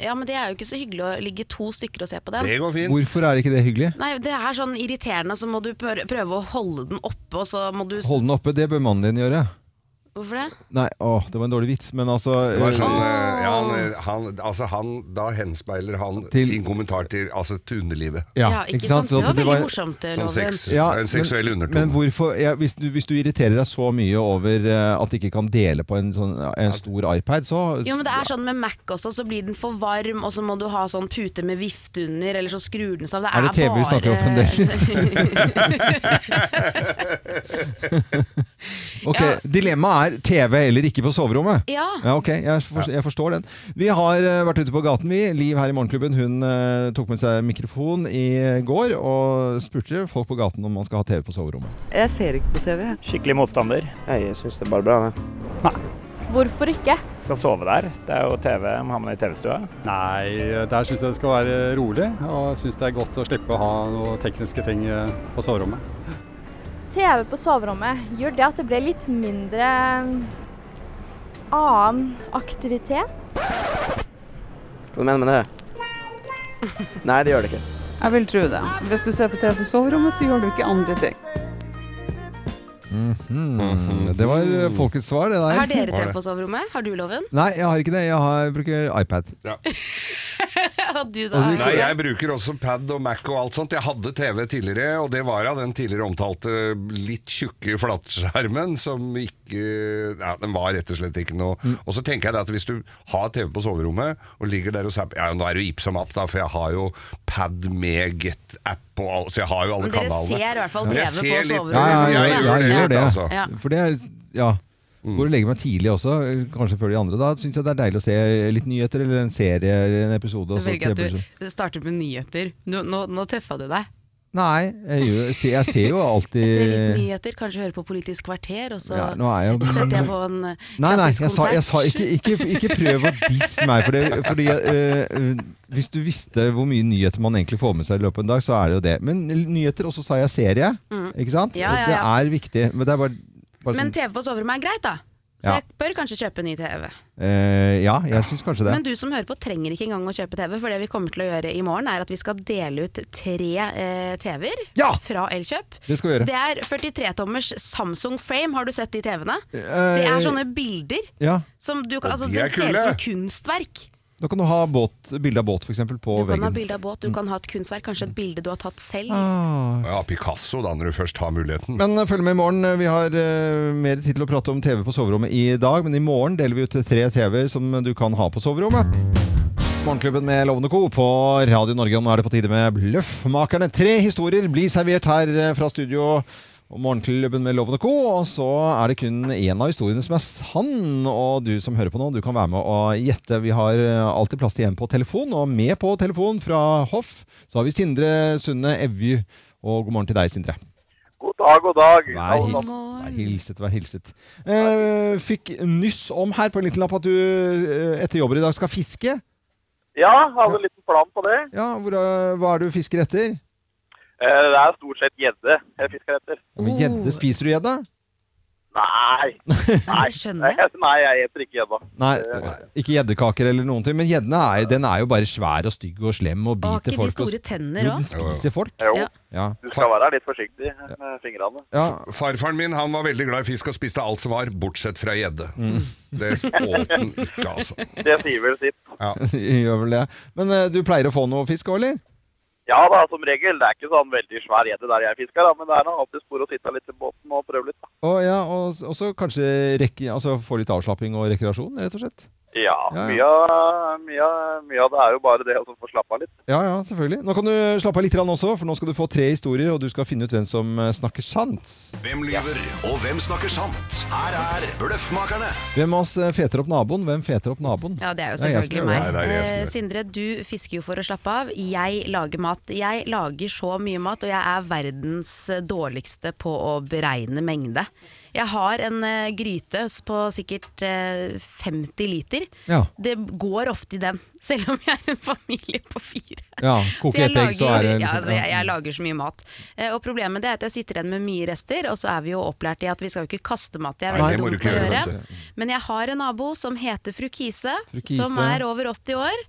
C: Ja, men det er jo ikke så hyggelig å ligge to stykker og se på den.
B: Det går fint.
A: Hvorfor er ikke det hyggelig?
C: Nei, det er sånn irriterende, så må du prø- prøve å holde den oppe, og så må du...
A: Holde den oppe, det bør mannen din gjøre.
C: Hvorfor det?
A: Nei, åh, det var en dårlig vits, men altså
B: Det var
A: øh,
B: sånn, eh, ja, han, han, altså han, da henspeiler han
A: Til-
B: sin kommentar til, altså, til underlivet.
A: ja,
C: Det
A: Sånn at
C: var veldig morsomt, eh,
B: Sånn
C: Loven.
B: sex,
A: Ja,
B: en seksuell
A: men,
B: undertone.
A: men hvorfor, ja, hvis, du, hvis du irriterer deg så mye over eh, at de ikke kan dele på en, sånn, en stor iPad, så
C: Jo, men det er sånn med Mac også, så blir den for varm, og så må du ha sånn pute med vifte under, eller så skrur den seg av.
A: Er det TV vi snakker om Ok, Dilemmaet er TV eller ikke på soverommet.
C: ja.
A: Ja, ok, jeg, forstår, jeg forstår den. Vi har eh, vært ute på gaten, vi. Liv her i Morgenklubben hun eh, tok med seg mikrofon i går og spurte folk på gaten om man skal ha TV på soverommet.
H: Jeg ser ikke på TV.
I: Skikkelig motstander.
J: Jeg syns det er bare bra, det.
H: Hvorfor ikke?
I: Skal sove der. Det er jo TV, har man det i TV-stua. Nei, der syns jeg det skal være rolig. Og syns det er godt å slippe å ha noen tekniske ting eh, på soverommet.
H: TV på soverommet, gjør det at det blir litt mindre eh, annen aktivitet?
J: Hva mener du med det? Nei, det gjør det ikke.
K: Jeg vil tro det. Hvis du ser på TV på soverommet, så gjør du ikke andre ting.
A: Mhm. Det var eh, folkets svar, det der.
C: Har dere TV på soverommet? Har du loven?
A: Nei, jeg har ikke det. Jeg, har, jeg bruker iPad.
C: Og du da?
B: Nei, jeg bruker også pad og Mac og alt sånt. Jeg hadde TV tidligere, og det var av den tidligere omtalte litt tjukke flatskjermen som ikke ja, Den var rett og slett ikke noe
C: Mm.
B: Og så tenker jeg det at hvis du har TV på soverommet og ligger der og zapper Ja, nå er det jo Ipsom App, da, for jeg har jo pad med Get-app og alt, så jeg har jo alle
C: Men dere
B: kanalene.
C: ser i hvert fall
B: Men jeg
C: TV på
B: ser litt-
C: soverommet.
A: Ja, ja, ja, jeg, jeg, gjør det.
B: altså.
C: Ja.
A: For det er Ja. Går og legger meg tidlig også, kanskje før de andre. Da syns jeg det er deilig å se litt nyheter eller en serie eller en episode. Og
C: Jeg
A: så
C: velger at
A: TV-program.
C: du starter med nyheter. Nå, nå, nå tøffa du deg.
A: Nei, jeg, gjør, jeg, ser, jeg ser jo alltid
C: Jeg ser litt nyheter, kanskje hører på Politisk kvarter, og så
A: Eh. Ja, nå er jeg jo-
C: setter jeg på en eh,
A: Nei, nei,
C: klassisk
A: jeg sa, jeg
C: konsert.
A: sa ikke, ikke, ikke prøv å disse meg. For det, fordi, eh, eh, hvis du visste hvor mye nyheter man egentlig får med seg i løpet av en dag, så er det jo det. Men nyheter, og så sa jeg serie.
C: Mm.
A: Ikke sant?
C: Ja, ja,
A: Det
C: ja.
A: er viktig. Men det er bare, bare
C: Men
A: sånn,
C: TV på soverommet er greit, da. Så
A: Ja.
C: jeg bør kanskje kjøpe ny TV.
A: eh, ja, jeg syns kanskje det.
C: Men du som hører på trenger ikke engang å kjøpe TV, for det vi kommer til å gjøre i morgen er at vi skal dele ut tre eh, TV-er fra Elkjøp.
A: Det skal vi gjøre.
C: Det er 43-tommers Samsung Frame, har du sett de TV-ene?
A: Eh,
C: det er sånne bilder
A: Ja.
C: som du kan,
A: Og
C: altså,
A: de
C: det
A: er
C: ser ut
A: kule.
C: som kunstverk.
A: Da kan du ha båt, bilde av båt, f.eks. på
C: Du kan ha
A: veggen.
C: bilde av båt, du kan ha et kunstverk, kanskje
A: Mm.
C: et bilde du har tatt selv.
A: Ah,
B: Ja, Picasso, da, når du først har muligheten.
A: Men eh, følg med i morgen. Vi har eh, mer tid til å prate om TV på soverommet i dag, men i morgen deler vi ut eh, tre TV-er som du kan ha på soverommet. Morgenklubben med Lovende Co. på Radio Norge, og nå er det på tide med Bløffmakerne. Tre historier blir servert her eh, fra studio. Og Morgenklubben med Lovende Co. Og så er det kun én av historiene som er sann. Og du som hører på nå, du kan være med og gjette. Vi har eh, alltid plass til en på telefon, og med på telefon fra Hoff så har vi Sindre Sunde Evju. Og god morgen til deg, Sindre.
K: God dag, god dag.
A: Vær hilset. Vær hilset, vær hilset. Eh, fikk nyss om her på en liten lapp at du eh, etter jobben i dag skal fiske.
K: Ja, hadde en liten plan på det.
A: Ja, hvor, eh, Hva er det du fisker etter?
K: Eh, Det er stort sett gjedde jeg fisker etter.
A: Ja, men
C: Oh.
A: Gjedde? Spiser du gjedda?
K: Nei. Nei, Nei, jeg spiser ikke gjedda.
A: Nei, ikke gjeddekaker eller noen ting. Men gjedden er, den er jo bare svær og stygg og slem og
C: Har ikke
A: biter
C: de
A: folk. og-
C: store tenner
A: Jo, den
C: òg?
A: spiser folk.
K: Jo.
A: Ja.
K: Du skal være litt forsiktig med fingrene.
B: F- Farfaren min han var veldig glad i fisk og spiste alt som var, bortsett fra gjedde.
C: Mm.
B: Det åt han ikke, altså.
K: Det sier vel sitt.
A: Gjør vel det. Men eh, du pleier å få noe fisk òg, eller?
K: Ja da, som regel. Det er ikke sånn veldig svær gjedde der jeg fisker, da, men det er nå alltid spor å sitte litt i båten og prøve litt. da.
A: Å, ja, og og så kanskje rekke, altså, få litt avslapping og rekreasjon, rett og slett?
K: Ja,
A: Ja, ja.
K: mye av, mye, av- mye av det er jo bare det å få slappe av litt.
A: Ja, ja, selvfølgelig. Nå kan du slappe av litt grann også, for nå skal du få tre historier, og du skal finne ut hvem som eh, snakker sant.
F: Hvem lyver, og hvem snakker sant? Her er Bløffmakerne.
A: Hvem av oss eh, feter opp naboen? Hvem feter opp naboen?
C: Ja, det er jo
A: Det er jeg som
C: selvfølgelig
A: gjør det.
C: meg.
A: Nei, det er jeg som
C: Eh,
A: gjør det.
C: Sindre, du fisker jo for å slappe av. Jeg lager mat. Jeg lager så mye mat, og jeg er verdens eh, dårligste på å beregne mengde. Jeg har en eh, gryte s- på sikkert eh, 50 liter.
A: Ja.
C: Det går ofte i den, selv om jeg er en familie på fire.
A: Ja, koke
C: Så jeg
A: ett egg, så
C: lager-
A: er det
C: ja, altså,
A: liksom
C: jeg, jeg lager så mye mat. Eh, og problemet det er at jeg sitter igjen med mye rester, og så er vi jo opplært i at vi skal jo ikke kaste mat. Det er
A: Nei,
C: veldig
A: det må du
C: dumt
A: ikke
C: å
A: gjøre,
C: gjøre.
A: vet du.
C: Men jeg har en nabo som heter fru Kise,
A: Fru Kise.
C: som er over 80 år.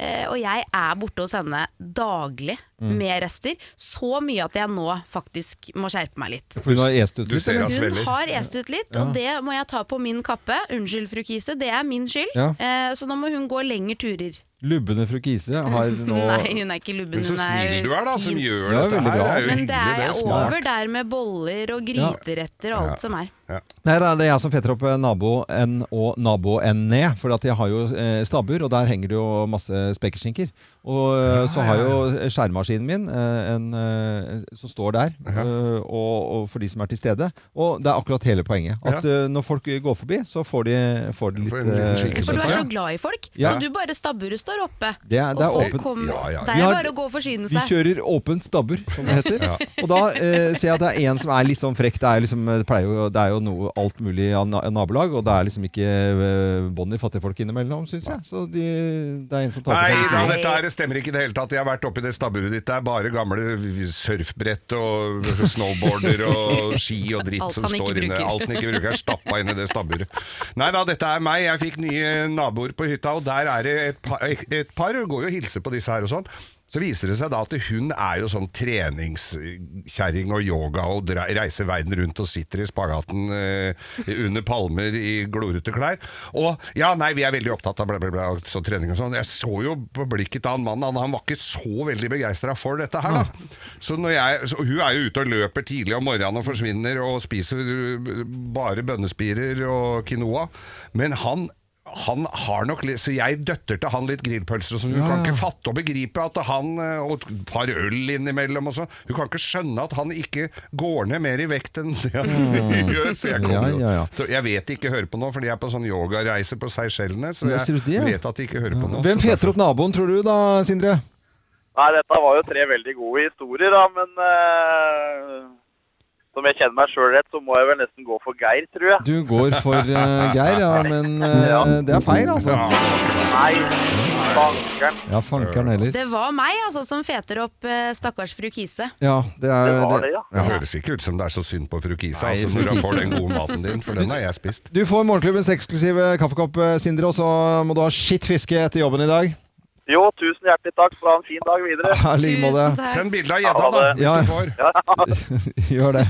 C: eh, Og jeg er borte hos henne daglig
A: Mm.
C: med rester. Så mye at jeg nå faktisk må skjerpe meg litt.
A: For hun har est ut
B: Du
A: litt,
B: ser
A: eller?
B: at
C: Hun
B: smeller.
C: har est ut litt,
A: Ja.
C: og det må jeg ta på min kappe. Unnskyld, fru Kise, det er min skyld.
A: Ja.
C: Eh, Så nå må hun gå lengre turer.
A: Lubbene fru Kise har nå
C: Nei, hun er ikke lubben.
A: Men
C: Hun
A: så
C: er
A: snill du er, da, som
C: fin.
A: gjør Ja, dette veldig her. bra. Det er jo
C: Men det
A: hyggelig,
C: er
A: det er jo smart.
C: over der med boller og
A: Ja.
C: gryteretter og
A: Ja.
C: alt som er.
A: Nei, det er det jeg som fetter opp eh, nabo-n og nabo-n-e, for at jeg har jo eh, stabbur, og der henger det jo masse spekeskinker. Og eh, så har jo skjærmaskinen min, eh, en, eh, som står der, eh, og, og for de som er til stede. Og det er akkurat hele poenget. At eh, når folk går forbi, så får de, får de litt eh,
C: For du er
A: ja.
C: så glad i folk,
A: Ja.
C: så du bare stabburet står oppe.
A: Det er- det er
C: og folk
A: åpent.
C: kommer.
A: Ja, ja.
C: Det
A: Vi
C: er
A: har-
C: bare å gå og forsyne
A: Vi
C: seg.
A: kjører åpent stabbur, som det heter.
B: Ja.
A: Og da eh, ser jeg at det er en som er litt sånn frekk. Det er, liksom, det pleier jo, det er jo noe, alt mulig av na- nabolag, og det er liksom ikke eh, bånd i fattige folk innimellom, syns jeg. Så de, det er en som tar
B: Nei, da,
A: for seg.
B: dette her stemmer ikke i det hele tatt. Jeg har vært oppi det stabburet ditt. Det er bare gamle surfbrett og snowboarder og ski og dritt
F: Alt
B: som
F: han ikke
B: står inne.
F: bruker.
B: Alt han ikke bruker, er stappa inn i det stabburet. Nei da, dette er meg. Jeg fikk nye naboer på hytta, og der er det et par, et par går jo og hilser på disse her og sånn. Så viser det seg da at hun er jo sånn treningskjerring og yoga og dra- reiser verden rundt og sitter i spagaten eh, under palmer i glorete klær. Og ja, nei, vi er veldig opptatt av bla, bla, bla, så trening og sånn. Jeg så jo på blikket til han mannen, han, han var ikke så veldig begeistra for dette her, da. Så når jeg, så hun er jo ute og løper tidlig om morgenen og forsvinner og spiser eh, bare bønnespirer og quinoa. Men han han har nok litt, så jeg døtter til han litt grillpølser og sånn. Hun
L: Ja, ja.
B: kan ikke fatte og begripe at han eh, Og et par øl innimellom og sånn. Hun kan ikke skjønne at han ikke går ned mer i vekt enn det han
A: Mm.
B: gjør. Så jeg,
A: Ja,
B: kommer, jo-
A: ja, ja.
B: Så jeg vet de ikke hører på nå, for de er på sånn yogareise på Seychellene. Så
A: Ja, sier
B: jeg
A: du det, ja?
B: vet at de ikke hører på nå.
A: Hvem
B: så
A: feter opp naboen, tror du da, Sindre?
K: Nei, dette var jo tre veldig gode historier, da, men eh, som jeg kjenner meg sjøl rett, så må jeg vel nesten gå for Geir, tror jeg.
A: Du går for eh, Geir, ja, men eh, det er feil, altså.
K: Nei, bankeren.
A: Ja, fankeren heller.
C: Det var meg altså, som feter opp eh, stakkars fru Kise.
A: Ja, det er
B: Det høres ikke ut som det er så synd på fru Kisa,
A: Nei,
B: altså,
A: fru
B: når hun
A: Kisa.
B: får den gode maten din, for den har jeg spist.
A: Du får morgenklubbens eksklusive kaffekopp, eh, Sindre, og så må du ha skitt fiske etter jobben i dag.
K: Jo, tusen hjertelig takk. for å ha en fin dag videre.
A: Ja, i like måte. Tusen takk.
B: Send bilde av gjedda, da, hvis
A: Ja.
B: du får.
A: Gjør det.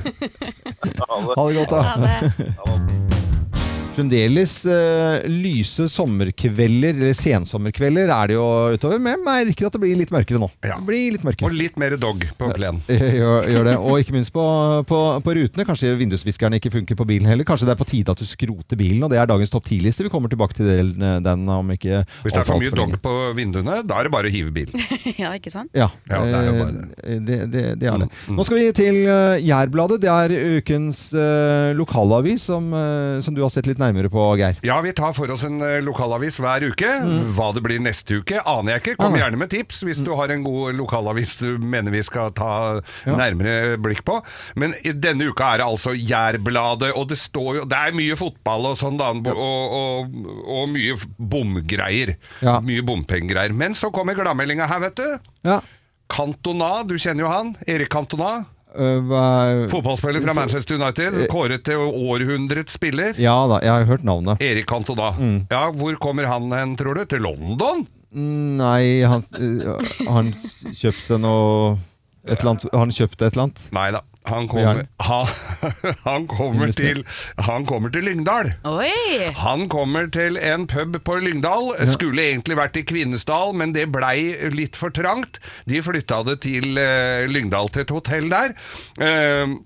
A: Ha det godt,
K: Ha det.
A: da. Fremdeles eh, lyse sommerkvelder, eller sensommerkvelder, er det jo utover. Men jeg merker at det blir litt mørkere nå. Det blir litt mørkere.
B: Og litt mer dog på plen.
A: Gjør, gjør det. Og ikke minst på, på, på rutene. Kanskje vindusviskerne ikke funker på bilen heller. Kanskje det er på tide at du skroter bilen, og det er dagens topp 10-liste. Vi kommer tilbake til den, den om ikke
B: Hvis det er for
A: alt
B: mye dog på vinduene, da er det bare å hive bilen.
C: ja, ikke sant?
A: Ja,
B: Ja, det Mm, er jo bare
A: eh, det. Det, det er det. Nå skal vi til eh, Jærbladet. Det er ukens eh, lokalavis som, eh, som du har sett litt nærmere på, Geir.
B: Ja, vi tar for oss en eh, lokalavis hver uke. Hva det blir neste uke, aner jeg ikke. Kom gjerne med tips hvis du har en god lokalavis du mener vi skal ta nærmere blikk på. Men i denne uka er det altså Jærbladet, og det står jo Det er mye fotball og sånn, da, og, og, og mye bomgreier. Mye bompengegreier. Men så kommer gladmeldinga her, vet du.
A: Ja.
B: Cantona, du kjenner jo han. Erik Cantona.
A: Eh, hva-
B: Fotballspiller fra Manchester United. Kåret til århundrets spiller.
A: Ja da, jeg har hørt navnet.
B: Erik Cantona. Ja, hvor kommer han hen, tror du? Til London?
A: Nei, han, eh, han kjøpte noe et eller annet, Han kjøpte et eller annet.
B: Nei da. Han
A: Gjerne.
B: kommer, han, han kommer,
A: Invester.
B: til, han kommer til Lyngdal.
C: Oi!
B: Han kommer til en pub på Lyngdal. Skulle egentlig vært i Kvinesdal, men det blei litt for trangt. De flytta det til eh, Lyngdal, til et hotell der. Eh,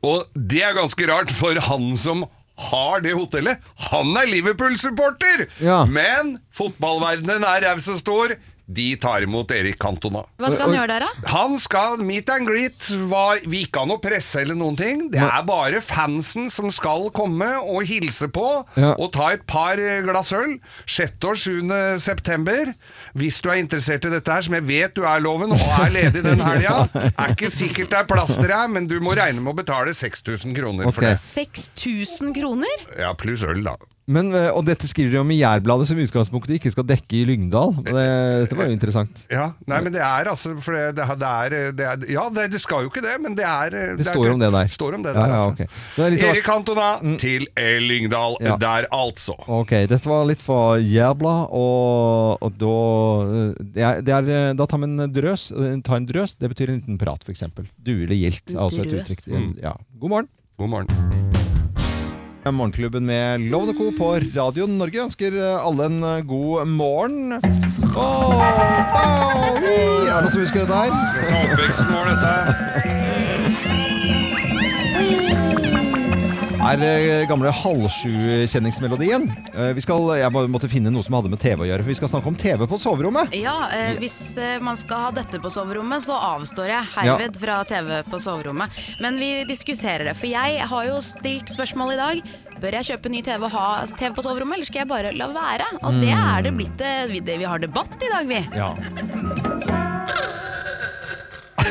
B: og det er ganske rart, for han som har det hotellet, han er Liverpool-supporter! Men fotballverdenen er raus og stor. De tar imot Erik Cantona.
C: Hva skal han gjøre der, da?
B: Han skal meet and greet. Hva, vi ikke har noe presse eller noen ting. Det er bare fansen som skal komme og hilse på
A: Ja.
B: og ta et par eh, glass øl. 6. og 7. september. Hvis du er interessert i dette her, som jeg vet du er, Loven, og er ledig den helga, er ikke sikkert det er plass til deg, men du må regne med å betale 6000 kroner for det.
C: 6000 kroner?
B: Ja, pluss øl, da.
A: Men, eh, og dette skriver de om i Jærbladet, som i utgangspunktet ikke skal dekke i Lyngdal. Det, dette var jo interessant.
B: Ja, nei, men det er altså for det, det, er- det er, det er, Ja, det, det skal jo ikke det, men det er
A: Det står om det der.
B: Står om det der
A: Ja, ja,
B: altså.
A: ok. Det er litt av-
B: Erik Cantona til Lyngdal
A: Mm. Ja.
B: der, altså.
A: Ok, dette var litt for jævla, og, og da eh, det er, det er, eh, Da tar vi en drøs. eh, Ta en drøs, det betyr en liten prat, f.eks. Duelig gildt er også et
B: Drøs.
A: uttrykk. En- Ja. God morgen.
B: God morgen.
A: Morgenklubben med Lovende Co. på Radio Norge ønsker eh, alle en eh, god morgen. Åh, åh, ui, er det noen som husker dette her?
B: Oppveksten vår, dette.
A: er eh, gamle halvsju-kjenningsmelodien. Eh, Vi skal, jeg bare måtte finne noe som hadde med TV å gjøre, for vi skal snakke om TV på soverommet.
C: Ja, eh, hvis eh, man skal ha dette på soverommet, så avstår jeg herved fra TV på soverommet. Men vi diskuterer det, for jeg har jo stilt spørsmål i dag. Bør jeg kjøpe ny TV og ha TV på soverommet, eller skal jeg bare la være? Og det
A: Mm.
C: er det blitt eh, vi, det, vi har debatt i dag, vi.
A: Ja.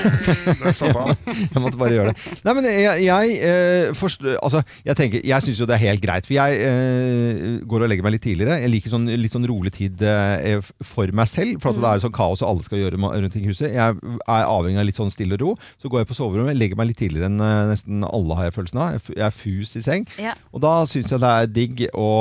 B: Stoppa.
A: jeg måtte bare gjøre det. Nei, men jeg, jeg eh, forstår Altså, jeg tenker Jeg syns jo det er helt greit, for jeg eh, går og legger meg litt tidligere. Jeg liker sånn, litt sånn rolig tid eh, f- for meg selv, for at det er sånn kaos og alle skal gjøre ma- rundt i huset. Jeg er avhengig av litt sånn stille ro. Så går jeg på soverommet, legger meg litt tidligere enn eh, nesten alle, har jeg følelsen av. Jeg f- Jeg er fus i seng.
C: Ja.
A: Og da syns jeg det er digg å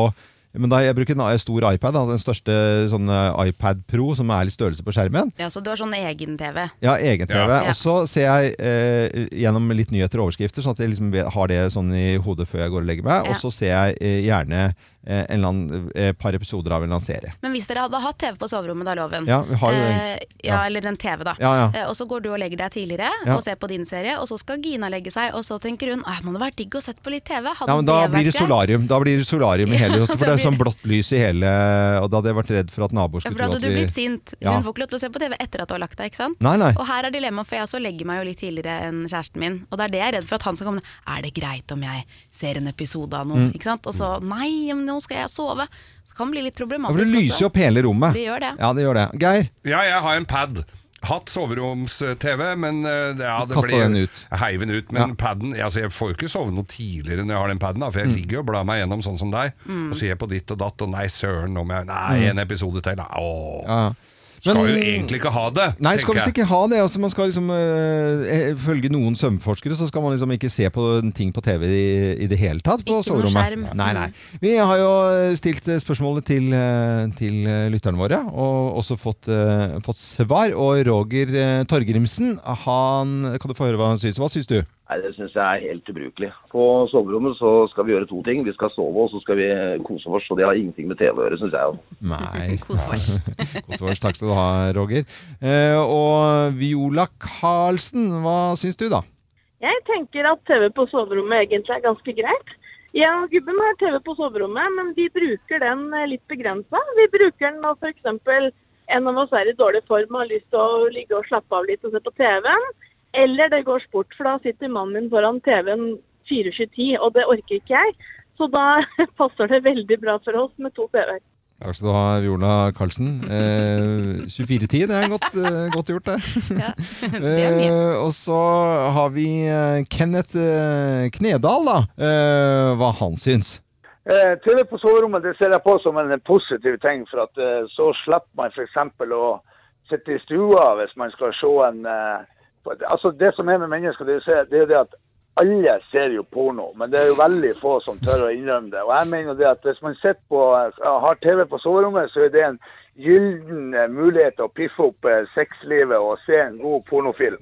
A: Men da jeg bruker en i- stor iPad, da, den største sånn eh, iPad Pro, som er litt størrelse på skjermen,
C: Ja, Så du har sånn egen-TV?
A: ja, egen TV.
C: Ja.
A: Og så ser jeg eh, gjennom litt nyheter og overskrifter, sånn at jeg liksom ve- har det sånn i hodet før jeg går og legger meg.
C: Ja.
A: Og så ser jeg eh, gjerne eh, en eller annen, eh, par episoder av en eller annen serie.
C: Men hvis dere hadde hatt TV på soverommet, da, Loven
A: Ja, vi har jo
C: eh,
A: en-
C: ja,
A: ja.
C: Eller en TV, da.
A: Ja, ja.
C: Eh, og så går du og legger deg tidligere
A: Ja.
C: og ser på din serie, og så skal Gina legge seg, og så tenker hun at det hadde vært digg å sett på litt TV. Hadde
A: Ja, men da
C: det vært
A: blir det
C: greit?»
A: solarium Da blir det solarium i
C: Ja,
A: hele huset, for det
C: da
A: er sånn
C: blir
A: blått lys i hele Og da hadde jeg vært redd for at naboer
C: Ja,
A: skulle
C: for da
A: tro
C: hadde
A: at
C: du
A: vi
C: blitt sint.
A: Ja.
C: Hun får ikke lov til å se på TV etter at du har lagt deg, ikke sant?
A: Nei, nei.
C: Og her er dilemmaet, for jeg også legger meg jo litt tidligere enn kjæresten min. Og det er det jeg er redd for at han skal komme ned. Er det greit om jeg ser en episode av noe?
A: Mm.
C: Ikke sant? Og så nei, men nå skal jeg sove. Så kan det bli litt
A: Ja,
C: problematisk.
A: for det lyser jo opp hele rommet.
C: Det gjør det.
A: Ja, det gjør det. Geir?
B: Ja, jeg har en pad. Hatt soveroms-TV, men eh, ja, det
A: Kastet
B: ble
A: den ut.
B: Jeg heiv den ut. Men padden altså, Jeg får jo ikke sove noe tidligere når jeg har den paden, da, for jeg ligger jo og blar meg gjennom sånn som deg.
A: Mm.
B: Og ser på ditt og datt, og nei, søren, om jeg Nei, en
A: Mm.
B: episode til. Nei, åh.
A: Ja.
B: Skal
A: Men-
B: jo egentlig ikke ha det.
A: Nei,
B: tenker
A: skal visst
B: jeg.
A: ikke ha det. Altså, man skal liksom, eh, eh, følge noen søvnforskere så skal man liksom ikke se på ting på TV i, i det hele tatt på
C: Ikke noe
A: soverommet.
C: skjerm. Mm.
A: Nei, nei. Vi har jo eh, stilt eh, spørsmålet til, eh, til eh, lytterne våre, og også fått, eh, fått svar. Og Roger eh, Torgrimsen, han, kan du få høre hva han syns? Hva syns du?
L: Nei, Det syns jeg er helt ubrukelig. På soverommet så skal vi gjøre to ting. Vi skal sove og så skal vi kose oss. Og det har ingenting med TV å gjøre, syns jeg.
A: Nei.
C: Kosvars.
A: Kosvars. Takk skal du ha, Roger. Eh, og Viola Karlsen, hva syns du, da?
M: Jeg tenker at TV på soverommet egentlig er ganske greit. Jeg og gubben har TV på soverommet, men vi bruker den eh, litt begrensa. Vi bruker den når f.eks. en av oss er i dårlig form og har lyst til å ligge og slappe av litt og se på TV-en. Eller det går sport, for da sitter mannen min foran TV-en 24-10, og det orker ikke jeg. Så da passer det veldig bra for oss med to TV-er.
A: Takk skal du ha, Viola Karlsen. Eh, 2410, det er godt, eh, godt gjort, det.
C: er mye.
A: Eh, og så har vi eh, Kenneth eh, Knedal, da. Eh, hva han syns.
N: Eh, TV på soverommet det ser jeg på som en positiv ting, for at eh, så slipper man f.eks. å sitte i stua hvis man skal se en eh, for- Altså Det som er med mennesker, det er jo se- det er jo det at alle ser jo porno, men det er jo veldig få som tør å innrømme det. Og jeg mener jo det at Hvis man sitter på, eh, har TV på soverommet, så er det en gyllen eh, mulighet til å piffe opp eh, sexlivet og se en god pornofilm.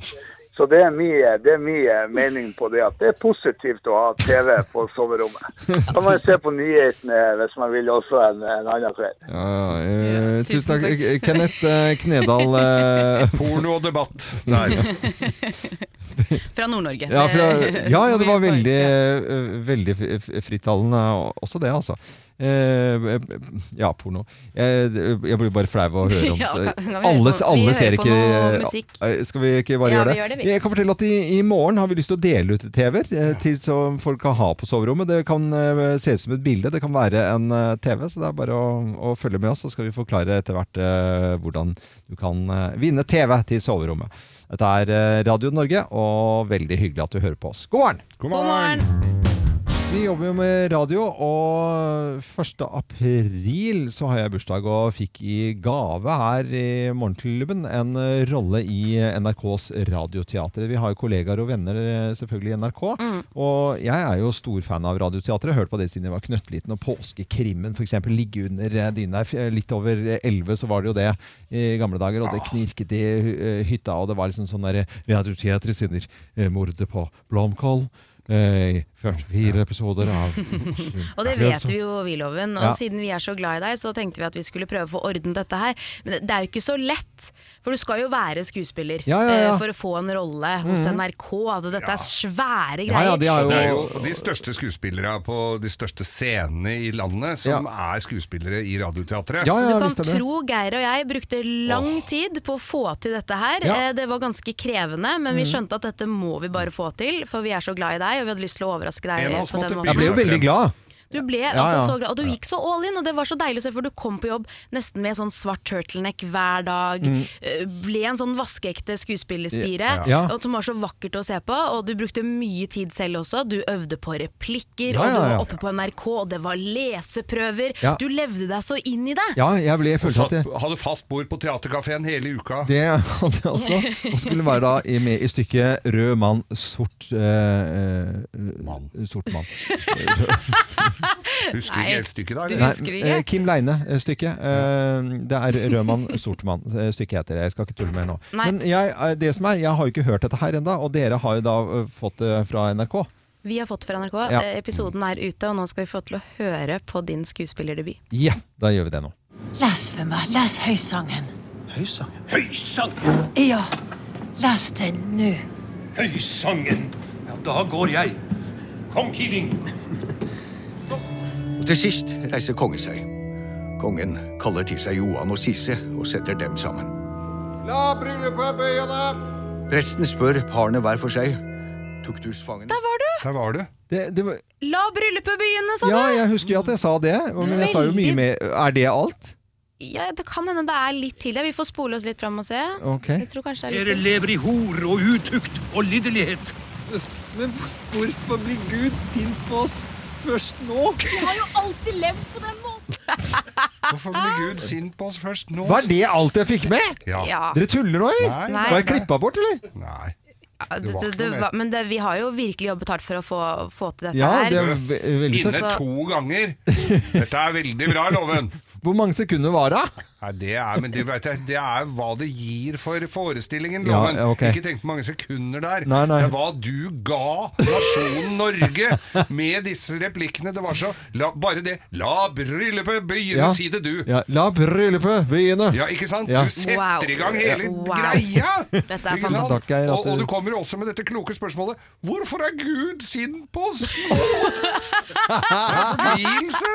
N: Så det er min det er min, eh, mening på det at det er positivt å ha TV på soverommet. Kan man se på nyhetene hvis man vil også en, en annen kveld.
A: Ja, eh, tusen
N: tusen
A: takk,
N: takk.
A: Eh, Kenneth eh, Knedal. Eh,
B: Porno og debatt. Nei.
C: Fra Nord-Norge.
A: Ja, fra, ja, ja, det var veldig, eh, veldig f- f- frittalende og- også det, altså. Eh, ja, porno. Jeg, jeg blir bare flau av å høre om
C: Ja,
A: så-
C: kan- kan vi høre
A: Alle,
C: på- vi
A: alle ser
C: hører på
A: ikke
C: noe musikk.
A: Eh, Skal vi ikke bare
C: Ja,
A: gjøre
C: vi
A: det?
C: gjør det, vi.
A: Jeg kan fortelle at i, i morgen har vi lyst til å dele ut TV-er eh, til som folk kan ha på soverommet. Det kan eh, se ut som et bilde, det kan være en eh, TV, så det er bare å, å følge med oss, så skal vi forklare etter hvert eh, hvordan du kan eh, vinne TV til soverommet. Dette er eh, Radio Norge, og veldig hyggelig at du hører på oss. God morgen!
C: God morgen.
A: Vi jobber jo med radio, og 1. april så har jeg bursdag og fikk i gave her i Morgenklubben en eh, rolle i eh, NRKs Radioteater. Vi har jo kollegaer og venner eh, selvfølgelig i NRK, og jeg er jo stor fan av Radioteatret. Hørt på det siden jeg var knøttliten, og påskekrimmen f.eks. ligge under eh, dyna. F- Litt over eh, 11 så var det jo det i gamle dager, og det knirket i eh, hytta, og det var liksom sånn der eh, Radioteatret sender eh, mordet på Blomkål. Eh, 44 episoder av
C: Og det vet vi jo, Viloven. Og
A: Ja.
C: siden vi er så glad i deg, så tenkte vi at vi skulle prøve å få orden dette her. Men det- det er jo ikke så lett, for du skal jo være skuespiller
A: Ja, ja, ja.
C: eh, for å få en rolle hos
A: Mhm.
C: NRK. Altså, dette er svære greier.
A: Ja, ja, det er jo-
B: Det er jo de største skuespillere på de største scenene i landet som er skuespillere i Radioteatret.
C: så du kan tro Geir og jeg brukte lang tid på å få til dette her.
B: Ja.
C: Eh, Det var ganske krevende, men vi
A: Mhm.
C: skjønte at dette må vi bare få til, for vi er så glad i deg, og vi hadde lyst til å overraske deg.
A: Jeg
C: på den måten.
A: ble jo veldig glad.
C: Du ble
A: Ja,
C: altså
A: ja.
C: så glad, og du gikk så all in, og det var så deilig å se, for du kom på jobb nesten med sånn svart turtleneck hver dag,
A: Mm.
C: eh, ble en sånn vaskeekte skuespillerspire,
A: Ja. Ja.
C: og som var så vakkert å se på, og du brukte mye tid selv også, du øvde på replikker,
A: Ja,
C: og du
A: ja, ja.
C: var oppe på NRK, og det var leseprøver,
A: Ja.
C: du levde deg så inn i det.
A: Ja, jeg ble
B: Og
A: følte
B: satt,
A: at jeg
B: hadde fast bord på Theatercaféen hele uka.
A: det hadde jeg også. Og skulle være da i, med i stykket 'Rød mann, sort eh, eh, Sort mann.
B: Husker
C: Nei,
B: ikke helt stykket da?
C: du
B: eller?
C: husker
A: Eh, Kim Leine-stykket. det er Rødmann Sortmann-stykket eh, heter det. Jeg skal ikke tulle mer nå.
C: Nei.
A: Men jeg, eh, det som er, jeg har jo ikke hørt dette her ennå, og dere har jo da eh, fått det fra NRK.
C: Vi har fått fra NRK.
A: Ja.
C: Eh, Episoden er ute, og nå skal vi få til å høre på din skuespillerdebut.
A: Ja, da gjør vi det nå.
O: Les for meg. Les Høysangen.
A: Høysangen.
P: Høysangen!
O: Ja, les den nå.
P: Høysangen! Ja, da går jeg. Kom, Kiving!
Q: Og til sist reiser kongen seg. Kongen kaller til seg Johan og Sise og setter dem sammen.
R: La bryllupet begynne!
Q: Presten spør parene hver for seg. Tukthusfangene
C: Der var du!
B: Der var du.
A: Det, det var,
C: La bryllupet begynne, sa du!
A: ja, jeg husker jo at jeg sa det, men jeg sa jo mye
C: Veldig.
A: mer. Er det alt?
C: Ja, det kan hende det er litt tidlig. Vi får spole oss litt fram og se.
A: Ok.
C: Jeg tror kanskje det er
P: Dere
C: litt
P: lever i hor og utukt og liderlighet.
R: Men hvorfor blir Gud sint på oss først nå?
H: Vi har jo alltid levd på den måten.
B: Hvorfor blir Gud sint på oss først nå?
A: Var det alt jeg fikk med?
B: Ja.
C: Ja.
A: Dere tuller nå, eller?
C: Nei, Nei.
A: Var jeg klippa bort, eller?
B: Nei.
C: Ja, det,
A: Det var
C: det,
A: ikke
C: det,
A: noe mer.
C: var- men det, vi har jo virkelig jobbet hardt for å få, få til dette
A: Ja, det
C: her.
A: er ve veldig
B: Inne to ganger. Dette er veldig bra, Loven.
A: Hvor mange sekunder var det?
B: Nei, det er, men du vet, jeg, det er hva det gir for forestillingen,
A: Ja,
B: Loven.
A: ja, ok.
B: Ikke tenk på mange sekunder der.
A: Nei, nei.
B: Det er hva du ga nasjonen Norge med disse replikkene. Det var så la, Bare det. La bryllupet begynne, si det du.
A: Ja, la bryllupet begynne.
B: Ja, ikke sant?
A: Ja.
B: Du setter i gang hele greia!
A: Dette er
B: Ikke sant?
A: fantastisk. Takk, Geir, at
B: Og, og du
A: du-
B: kommer også med dette kloke spørsmålet Hvorfor er Gud sint på oss? Fortvilelse!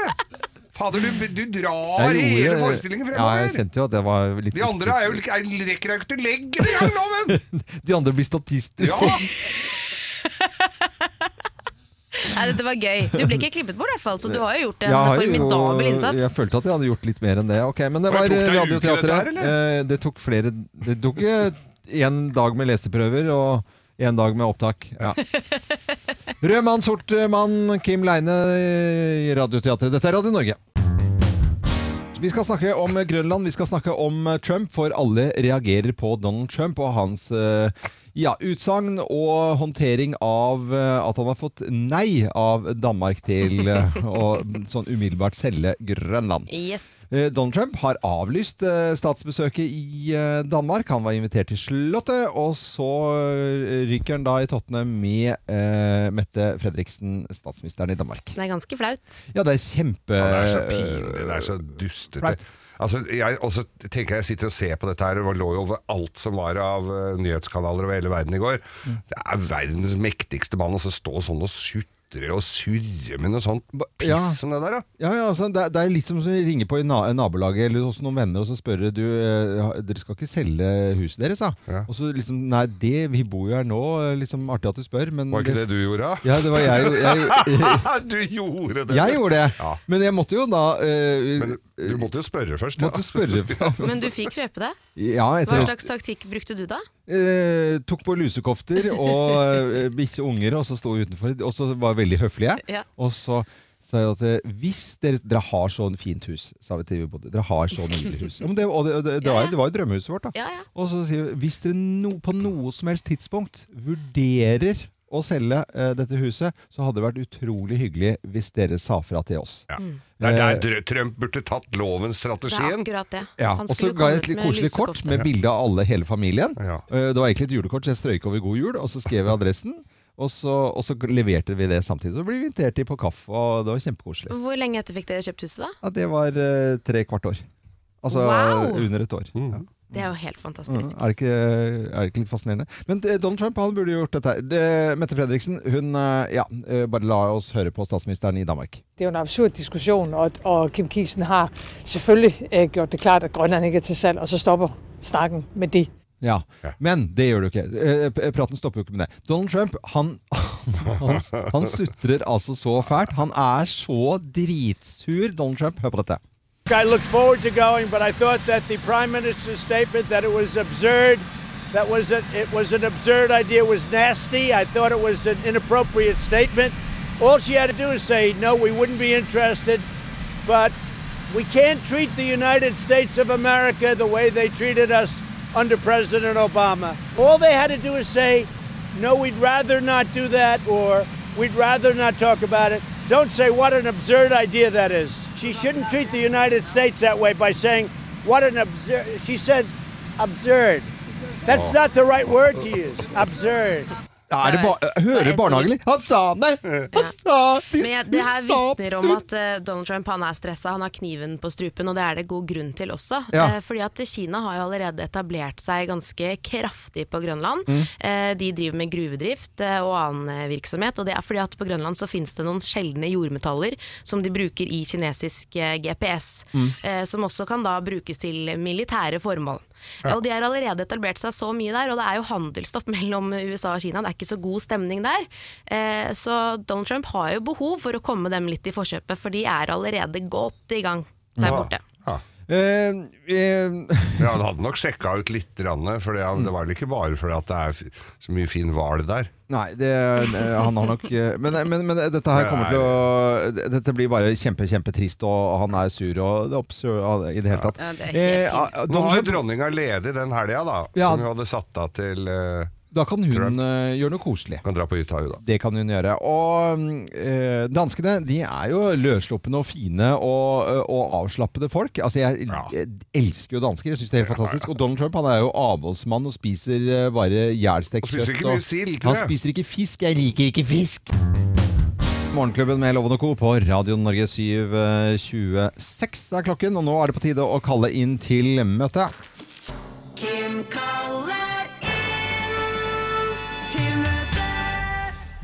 B: Fader, du, du drar
A: Jeg gjorde-
B: hele forestillingen
A: Ja,
B: fremover.
A: jeg kjente jo at det var litt
B: de andre er jo ikke- er- rekker deg jo ikke til leggen engang, loven!
A: De andre blir statister.
B: Ja.
C: Nei, dette var gøy. Du ble ikke klippet bort, i hvert fall, så du har jo gjort en
A: Jeg har jo-
C: formidabel innsats.
A: Jeg følte at jeg hadde gjort litt mer enn det. Ok, Men det
B: Og
A: var eh,
B: jeg tok deg ut i
A: Radioteatret.
B: dette her,
A: Eh, Det tok flere Det tok eh, en dag med leseprøver og en dag med opptak. Ja. Rød mann, sort eh, mann, Kim Leine eh, i Radioteatret. Dette er Radio Norge. Vi skal snakke om Grønland, vi skal snakke om eh, Trump, for alle reagerer på Donald Trump og hans eh, ja, utsagn og håndtering av eh, at han har fått nei av Danmark til eh, å sånn umiddelbart selge Grønland.
C: Yes.
A: Eh, Donald Trump har avlyst eh, statsbesøket i eh, Danmark. Han var invitert til Slottet, og så eh, ryker han da i tottene med eh, Mette Fredriksen, statsministeren i Danmark.
C: Det er ganske flaut.
A: Ja, det er kjempe...
B: Ja, det er så pinlig, det er så dustete. Altså, jeg, og så tenker jeg, jeg sitter og ser på dette her, og det lå jo over alt som var av eh, nyhetskanaler over hele verden i går. Det er verdens mektigste mann, og så stå sånn og sutre og surre med noe sånt piss
A: Ja.
B: som det der, da.
A: Ja, ja, altså, det, er- det er litt som å ringe på i na nabolaget eller hos noen venner og så spørre du, eh, dere skal ikke selge huset deres, da? Og så liksom, nei, det, vi bor jo her nå, eh, liksom artig at du spør, men
B: Var ikke det du gjorde, da?
A: Ja, det var jeg jo. Jeg,
B: du gjorde det!
A: jeg gjorde det,
B: Ja.
A: men jeg måtte jo da eh,
B: Du måtte jo spørre først.
A: Måtte spørre
C: Men du fikk kjøpe det.
A: Ja, etter
C: Hva
A: det.
C: slags taktikk brukte du da?
A: Eh, tok på lusekofter og eh, bikkje unger, og så sto vi utenfor. Og så var veldig høflige.
C: Ja.
A: Og så sa jeg at eh, hvis dere, dere har sånn fint hus sa vi til vi bodde, Dere har sånn nydelig hus. Ja, men det, og det, det, det, var, det var jo drømmehuset vårt, da. Og så sier vi hvis dere no, på noe som helst tidspunkt vurderer å selge eh, dette huset, så hadde det vært utrolig hyggelig hvis dere sa fra til oss.
B: Ja. Det er der Dr- Trump burde tatt lovens
C: Det
B: strategi.
C: er akkurat det.
A: Ja,
C: Han
A: og så
C: skulle
A: ga
C: kommet
A: jeg et litt
C: med
A: koselig kort
C: lusekofte.
A: med bilde av alle, hele familien. Eh, Det var egentlig et julekort, så jeg strøyk over 'God jul', og så skrev jeg adressen. Og så, og så leverte vi det samtidig. Så ble vi invitert til på kaffe, og det var kjempekoselig.
C: Hvor lenge etter fikk dere kjøpt huset, da?
A: Ja, det var eh, tre kvart år. Altså
C: Wow!
A: under et år. Ja.
C: Det er jo helt
A: Mm,
C: fantastisk.
A: er, det ikke, er det ikke litt fascinerende? Men eh, Donald Trump han burde gjort dette. her. Det, Mette Fredriksen, hun eh, ja, eh, Bare la oss høre på statsministeren i Danmark.
S: Det er jo en absurd diskussion, og, og Kim Kielsen har selvfølgelig øh, gjort det klart, at Grønland ikke er til salg, og så stopper snakken med det.
A: Ja, Men det gjør du ikke. Eh, p- Praten stopper jo ikke med det. Donald Trump han, han, han sutrer altså så fælt. Han er så dritsur. Donald Trump, hør på dette.
T: I looked forward to going, but I thought that the prime minister's statement that it was absurd, that was a, it was an absurd idea, was nasty. I thought it was an inappropriate statement. All she had to do is say, "No, we wouldn't be interested," but we can't treat the United States of America the way they treated us under President Obama. All they had to do is say, "No, we'd rather not do that," or "We'd rather not talk about it." Don't say what an absurd idea that is. She shouldn't treat the United States that way by saying what an absurd. She said absurd. That's not the right word to use. Absurd.
A: Er det ba eh, Hører barnehagen Han sa det! Han sa De,
C: Men jeg,
A: de
C: det her
A: sa
C: vitner om
A: absurd.
C: at eh, Donald Trump han er stressa, han har kniven på strupen, og det er det god grunn til også.
A: Ja.
C: Eh, fordi at Kina har jo allerede etablert seg ganske kraftig på Grønland.
U: Mm.
C: Eh, de driver med gruvedrift eh, og annen eh, virksomhet, og det er fordi at på Grønland så finnes det noen sjeldne jordmetaller som de bruker i kinesisk eh, GPS,
U: Mm.
C: eh, som også kan da brukes til militære formål.
U: Ja.
C: Og de har allerede etablert seg så mye der, og det er jo handelsstopp mellom USA og Kina. Det er ikke så god stemning der. Eh, så Donald Trump har jo behov for å komme dem litt i forkjøpet, for de er allerede godt i gang der
B: Ja.
C: borte.
B: Ja.
A: Eh, ja,
B: han hadde nok sjekka ut litt, grann, for det, det var vel ikke bare fordi at det er f- så mye fin hval der.
A: Nei, det, eh, han har nok eh, men, men, men dette her kommer til å Dette blir bare kjempe, kjempetrist, og han er sur og det er absurd og- i det hele tatt. Eh, ah, ah,
B: Nå
A: Donald
B: har jo
A: Trump-
B: dronninga ledig den helga, da,
A: Ja.
B: som hun hadde satt av til eh,
A: Da kan hun eh, gjøre noe koselig.
B: Kan dra på hytta, hun, da.
A: Det kan hun gjøre. Og mm, eh, danskene de er jo løssluppne og fine og, eh, og avslappede folk. Altså, jeg jeg elsker jo dansker. Jeg synes det er helt fantastisk. Og Donald Trump han er jo avholdsmann og spiser eh, bare jævlstekt
B: Og spiser ikke
A: og-
B: mye sild, tror
A: Han
B: jeg.
A: spiser ikke fisk. Jeg liker ikke fisk! Morgenklubben med Loven og Co. på Radio Norge 7.26 er klokken, og nå er det på tide å kalle inn til møte.
R: Kim kaller inn til møte.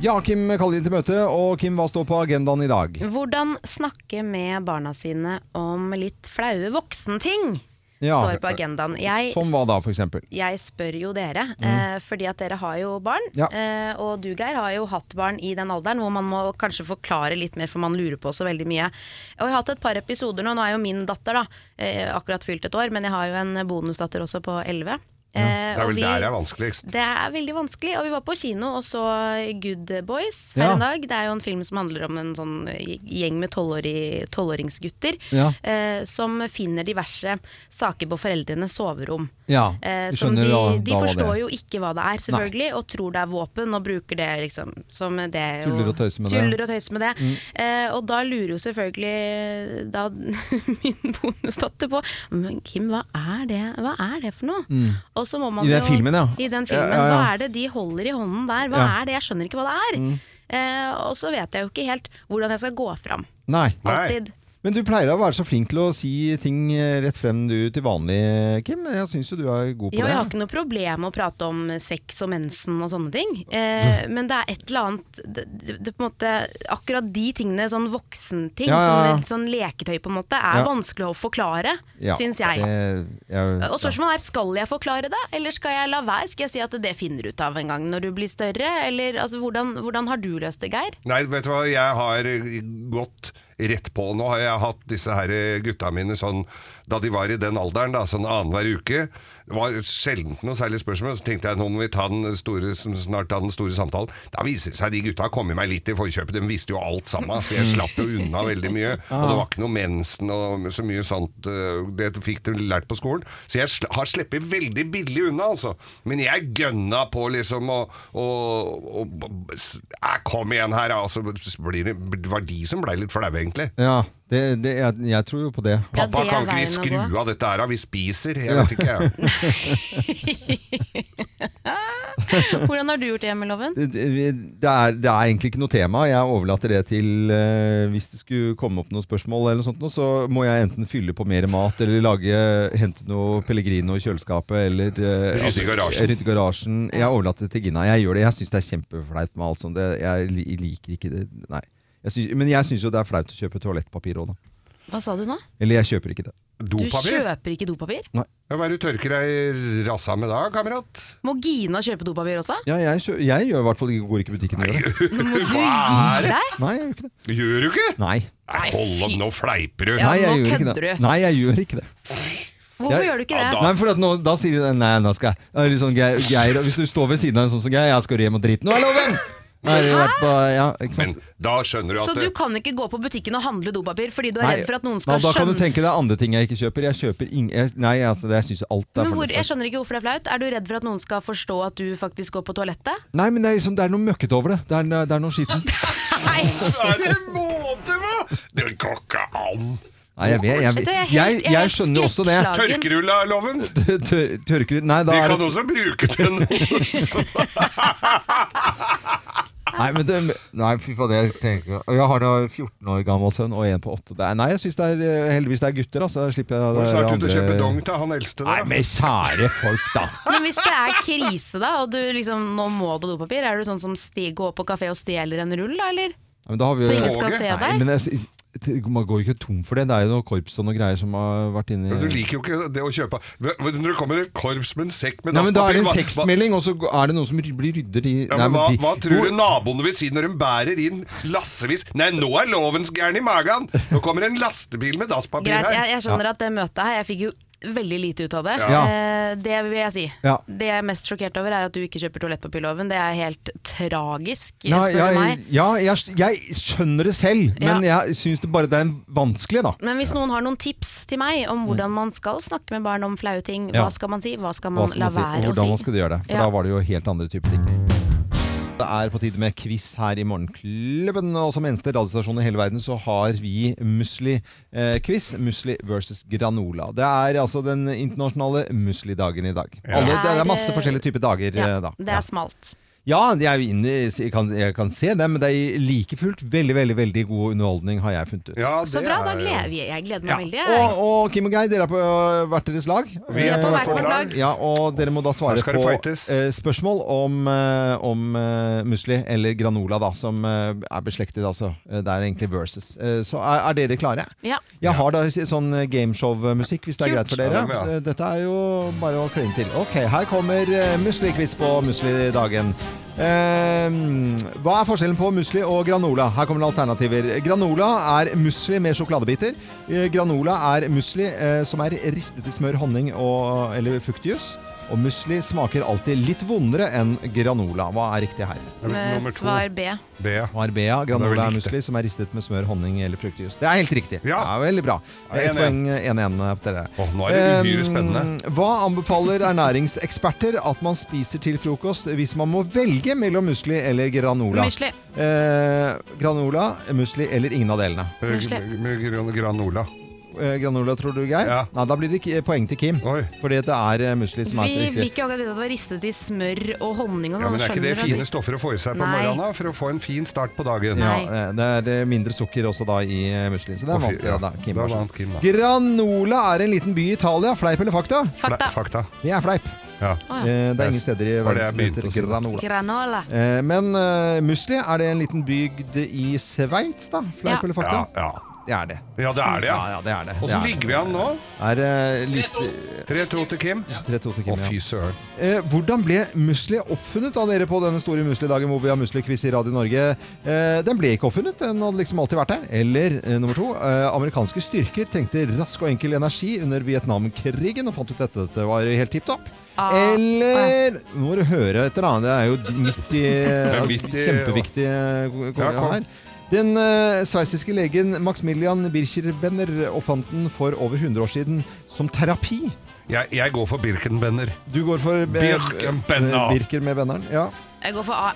A: Ja, Kim kaller inn til møte, og Kim, hva står på agendaen i dag?
C: Hvordan snakke med barna sine om litt flaue voksenting,
A: Ja.
C: står på agendaen. Jeg
A: Som hva da, for eksempel?
C: jeg spør jo dere,
A: Mm.
C: eh, fordi at dere har jo barn.
A: Ja.
C: Eh, og du, Geir, har jo hatt barn i den alderen hvor man må kanskje forklare litt mer, for man lurer på så veldig mye. Og jeg har hatt et par episoder nå. Nå er jo min datter da, eh, akkurat fylt et år, men jeg har jo en bonusdatter også på 11. Eh,
B: Det er
C: og
B: vel
C: vi-
B: der jeg er vanskeligst.
C: det er veldig vanskelig, og vi var på kino og så Good Boys her
B: Ja.
C: en dag. Det er jo en film som handler om en sånn gjeng med tolvåri- tolvåringsgutter
A: Ja.
C: eh, som finner diverse saker på foreldrenes soverom.
A: Ja,
C: Eh,
A: vi
C: som
A: skjønner
C: de,
A: da-
C: de
A: da hva det
C: forstår
A: er.
C: jo ikke hva det er, selvfølgelig, og tror det er våpen og bruker det liksom som det jo,
A: Tuller og tøyser med det.
C: tuller og tøyser med det.
A: Mm.
C: Eh, og da lurer jo selvfølgelig da min bonusdatter på Men Kim, hva er det, hva er det for noe?
A: Mm.
C: Og så må man
A: I den
C: jo,
A: filmen, ja.
C: I den filmen,
A: Ja, ja, ja.
C: Hva er det de holder i hånden der? Hva
A: Ja.
C: er det? Jeg skjønner ikke hva det er.
A: Mm.
C: Eh, og så vet jeg jo ikke helt hvordan jeg skal gå fram.
A: Nei.
C: Alltid.
A: Men du pleier å være så flink til å si ting eh, rett frem du til vanlig, Kim. Jeg syns jo du er god på
C: Ja, jeg har
A: det.
C: ikke noe problem med å prate om sex og mensen og sånne ting, eh, men det er et eller annet det, det, det på en måte, Akkurat de tingene, sånn voksenting,
A: Ja, ja, ja.
C: Sånn, sånn leketøy på en måte, er
A: Ja.
C: vanskelig å forklare,
A: Ja,
C: syns jeg. Eh,
A: det- jeg-
C: Og spørsmålet er, skal jeg forklare det, eller skal jeg la være? Skal jeg si at det finner du ut av en gang når du blir større, eller altså, hvordan, hvordan har du løst det, Geir?
B: Nei, vet du hva, jeg har eh, gått rett på. Nå har jeg hatt disse her eh, gutta mine sånn da de var i den alderen, da, sånn annenhver uke. Det var sjelden noe særlig spørsmål. Så tenkte jeg nå må vi ta den store, som snart ta den store samtalen. Da viser det seg de gutta har kommet meg litt i forkjøpet. De visste jo alt sammen, så Altså, jeg slapp jo unna veldig mye. Og det var ikke noe mensen og så mye sånt. eh, Det fikk de lært på skolen. Så jeg sl har sluppet veldig billig unna, altså. Men jeg gønna på, liksom, og, og, og, s- eh, Kom igjen her, da. Og så blir det, det var de som blei litt flaue, egentlig.
A: Ja, det, det, jeg, jeg tror jo på det.
B: Pappa, kan ikke vi skru av dette her, da? Vi spiser. Jeg vet ikke, jeg.
C: Hvordan har du gjort det, Emil-loven?
A: Det, det, er, det er egentlig ikke noe tema. Jeg overlater det til eh, Hvis det skulle komme opp noen spørsmål, eller noe sånt, nå, så må jeg enten fylle på mer mat eller lage, hente noe Pellegrino i kjøleskapet. Eller eh,
B: Rydde i garasjen.
A: rydde i garasjen. Jeg overlater det til Gina. Jeg gjør det. Jeg syns det er kjempeflaut med alt sånt. Det, jeg li- liker ikke det. Nei. Jeg synes, men jeg syns jo det er flaut å kjøpe toalettpapir òg, da.
C: Hva sa du nå?
A: Eller jeg kjøper ikke det.
C: Du kjøper ikke dopapir?
B: Ja, Hva er det du tørker deg i rassa med da, kamerat?
C: Må Gina kjøpe dopapir også?
A: Ja, jeg, kjø jeg gjør i hvert fall ikke, går ikke i butikken og gjør det.
C: Må du
B: Hva er
C: gi
B: det?
C: deg?
A: Nei, jeg gjør ikke det.
B: Gjør du ikke?
A: Nei.
B: Nei, hold opp, nå fleiper du.
A: Nei, jeg gjør ikke det. Nei, jeg gjør ikke det.
C: Hvorfor
A: Jeg-
C: gjør du ikke
A: Ja,
C: det?
A: da- Nei, for at nå, da sier du Nei, nå skal jeg det er litt sånn Geir, Geir, Hvis du står ved siden av en sånn som Geir, jeg skal hjem og drite. Nå er loven! Nå har jeg vært på- ja, ikke sant?
B: Da skjønner du
C: Så
B: at
C: du
B: det-
C: kan ikke gå på butikken og handle dopapir fordi du er
A: Nei,
C: redd for at noen
A: nei,
C: skal
A: da kan du
C: skjønne
A: tenke deg andre ting jeg ikke kjøper. Jeg kjøper ing... Jeg, nei, altså, det, jeg syns alt er
C: men hvor,
A: fornuftig.
C: Jeg skjønner ikke hvorfor det er flaut. Er du redd for at noen skal forstå at du faktisk går på toalettet?
A: Nei, men det er, liksom, det er noe møkkete over det. Det er, det er noe skittent.
C: Nei!
B: Det må Det går ikke an!
A: Nei, jeg, vet, jeg,
B: Det er
A: jeg,
B: helt-
A: jeg,
B: jeg er
A: jeg
B: helt
A: skjønner jo også det.
B: skrekkslagen. Tørkerulla-loven?
A: Tør, tørker, nei, da
B: De
A: er
B: kan
A: det-
B: også bruke den.
A: Nei, men det, nei, fy faen, jeg tenker Og Jeg har da 14 år gammel sønn og en på 8. Det er, nei, jeg synes det er eh, heldigvis det er gutter, altså. Da slipper jeg
B: Må
A: det
B: snart ut og
A: andre-
B: kjøpe dong til han eldste.
A: Nei, men kjære folk, da.
C: Men hvis det er krise, da, og du liksom nå må du ha dopapir, er du sånn som sti- går på kafé og stjeler en rull, da, eller?
A: Ja, Men da har vi,
C: Så ingen skal se
A: Nei,
C: deg?
A: Men jeg, det- man går jo ikke tom for det. Det er jo noe korps og noe greier som har vært inni
B: Du liker jo ikke det å kjøpe Når det kommer et korps med en sekk med
A: Nei, men Da er det en
B: dasspapir, hva- hva-
A: tekstmelding, og så er det noen som ry- blir rydder i
B: Ja,
A: Nei,
B: men hva,
A: de-
B: hva tror du
A: Hvor-
B: naboene vil si når de bærer inn lassevis Nei, nå er lovens gæren i magen! Nå kommer en lastebil med dasspapir
C: Greit,
B: her.
C: jeg, jeg skjønner at det møtet her, jeg fikk jo veldig lite ut av det.
B: Ja.
C: Eh, det vil jeg si.
A: Ja.
C: Det jeg er mest sjokkert over, er at du ikke kjøper toalettpapirloven. Det er helt tragisk,
A: Nei,
C: spør du
A: jeg,
C: meg.
A: ja, jeg, jeg skjønner det selv,
C: Ja.
A: men jeg syns det bare det er vanskelig, da.
C: Men hvis noen har noen tips til meg om hvordan man skal snakke med barn om flaue ting,
A: Ja.
C: hva skal man si, hva skal
A: Hva
C: man
A: skal
C: la
A: man si, og
C: være å si?
A: hvordan man skulle gjøre det. For
C: Ja.
A: da var det jo helt andre typer ting. Det er på tide med quiz her i Morgenklubben. Og som eneste radiostasjon i hele verden så har vi musli-quiz. musli versus granola. Det er altså den internasjonale muslidagen i dag. Alle, det er masse forskjellige typer dager
C: ja,
A: eh, da.
C: Det er smalt.
A: Ja, jeg, er jo inne, i- jeg, kan, jeg kan se det, men det er like fullt veldig veldig, veldig god underholdning, har jeg funnet ut.
C: Så bra, da gleder vi Jeg gleder meg veldig. jeg.
A: Og, og Kim og Geir, dere er på ø, hvert deres lag.
C: Vi er på hvert vårt lag.
A: Ja, og dere må da svare
B: Her skal det
A: på
B: fightes.
A: ø, spørsmål om, ø, om ø, musli eller granola, da, som ø, er beslektet. Altså. Det er egentlig versus. Eh, Så er, er dere klare?
C: Ja.
A: Jeg har da s- sånn gameshow-musikk, hvis det er
C: Kult.
A: greit for
B: Ja,
A: dere.
B: det er bra.
A: Eh, Dette er jo bare å kline til. Ok, her kommer eh, muslikviss på muslidagen. Eh, hva er forskjellen på musli og granola? Her kommer det alternativer. Granola er musli med sjokoladebiter. Eh, granola er musli eh, som er ristet i smør, honning og, eller fuktjus. Og musli smaker alltid litt vondere enn granola. Hva er riktig her?
C: Eh, Svar B.
B: B.
A: Svar B, ja.
B: Det er
A: Granola
B: vel
A: er
B: riktig.
A: musli som er ristet med smør, honning eller fruktjus. Det er helt riktig. Ja.
B: Ja.
A: veldig bra.
B: Ja,
A: Ett
B: enig.
A: poeng eh, 1-1 på dere.
B: nå er det uhyre spennende.
A: Eh, Hva anbefaler ernæringseksperter at man spiser til frokost hvis man må velge mellom musli eller granola?
C: Musli.
A: Eh, granola, musli eller ingen av delene?
B: Musli. Granola.
A: Eh, granola, tror du, Geir? Nei, da blir det ikke poeng til Kim. Fordi at det er eh, musli som er
C: Vi vil
A: riktig.
C: ikke akkurat vite at det var ristet i smør og honning og
B: Ja,
C: sånn.
B: men er ikke det
C: skjønner du at-
B: fine stoffer å få i seg på
C: Nei.
B: morgenen da, for å få en fin start på dagen?
A: Ja, eh, det er eh, mindre sukker også da i eh, muslin, så det
B: Og
A: er
B: fi-
A: vant til.
B: ja,
A: da, Kim,
B: da
A: vær så
B: vant
A: god.
B: Kim, da.
A: Granola er en liten by i Italia. Fleip eller fakta?
C: Fakta. Fle-
A: Det er fleip.
C: Å, ja.
A: Eh, Det er ingen steder i
B: Var det
A: verden
B: jeg
A: som heter
B: begynte å si.
A: granola.
C: Granola.
A: Eh, Men eh, Musli, er det en liten bygd i Sveits, da?
C: Ja.
A: Fleip eller fakta?
B: Ja, ja.
A: Det er det.
B: Ja, det er det,
A: Ja, ja, det er det. Det
B: Åssen
A: er
B: ligger vi an nå?
A: Er, eh, litt,
B: 3-2 til Kim.
A: 3-2 til Kim,
B: Å,
A: ja.
B: fy søren.
A: Eh, hvordan ble musli oppfunnet av dere på denne store muslidagen hvor vi har muslikviss i Radio Norge? Eh, den ble ikke oppfunnet, den hadde liksom alltid vært der. Eller eh, nummer to, eh, amerikanske styrker trengte rask og enkel energi under Vietnamkrigen og fant ut at dette var helt tipp topp. Eller Nå må du høre etter, da. Det er jo midt i,
B: Det er midt i-
A: Kjempeviktig eh,
B: Ja,
A: ja,
B: kom.
A: her. Den eh, sveitsiske legen Maximilian Bircher-Benner oppfant den for over 100 år siden som terapi.
B: Jeg, jeg går for Birkenbender.
A: Du går for eh,
B: Birkenbender.
A: eh, Birker med benneren, ja.
C: Jeg går for A.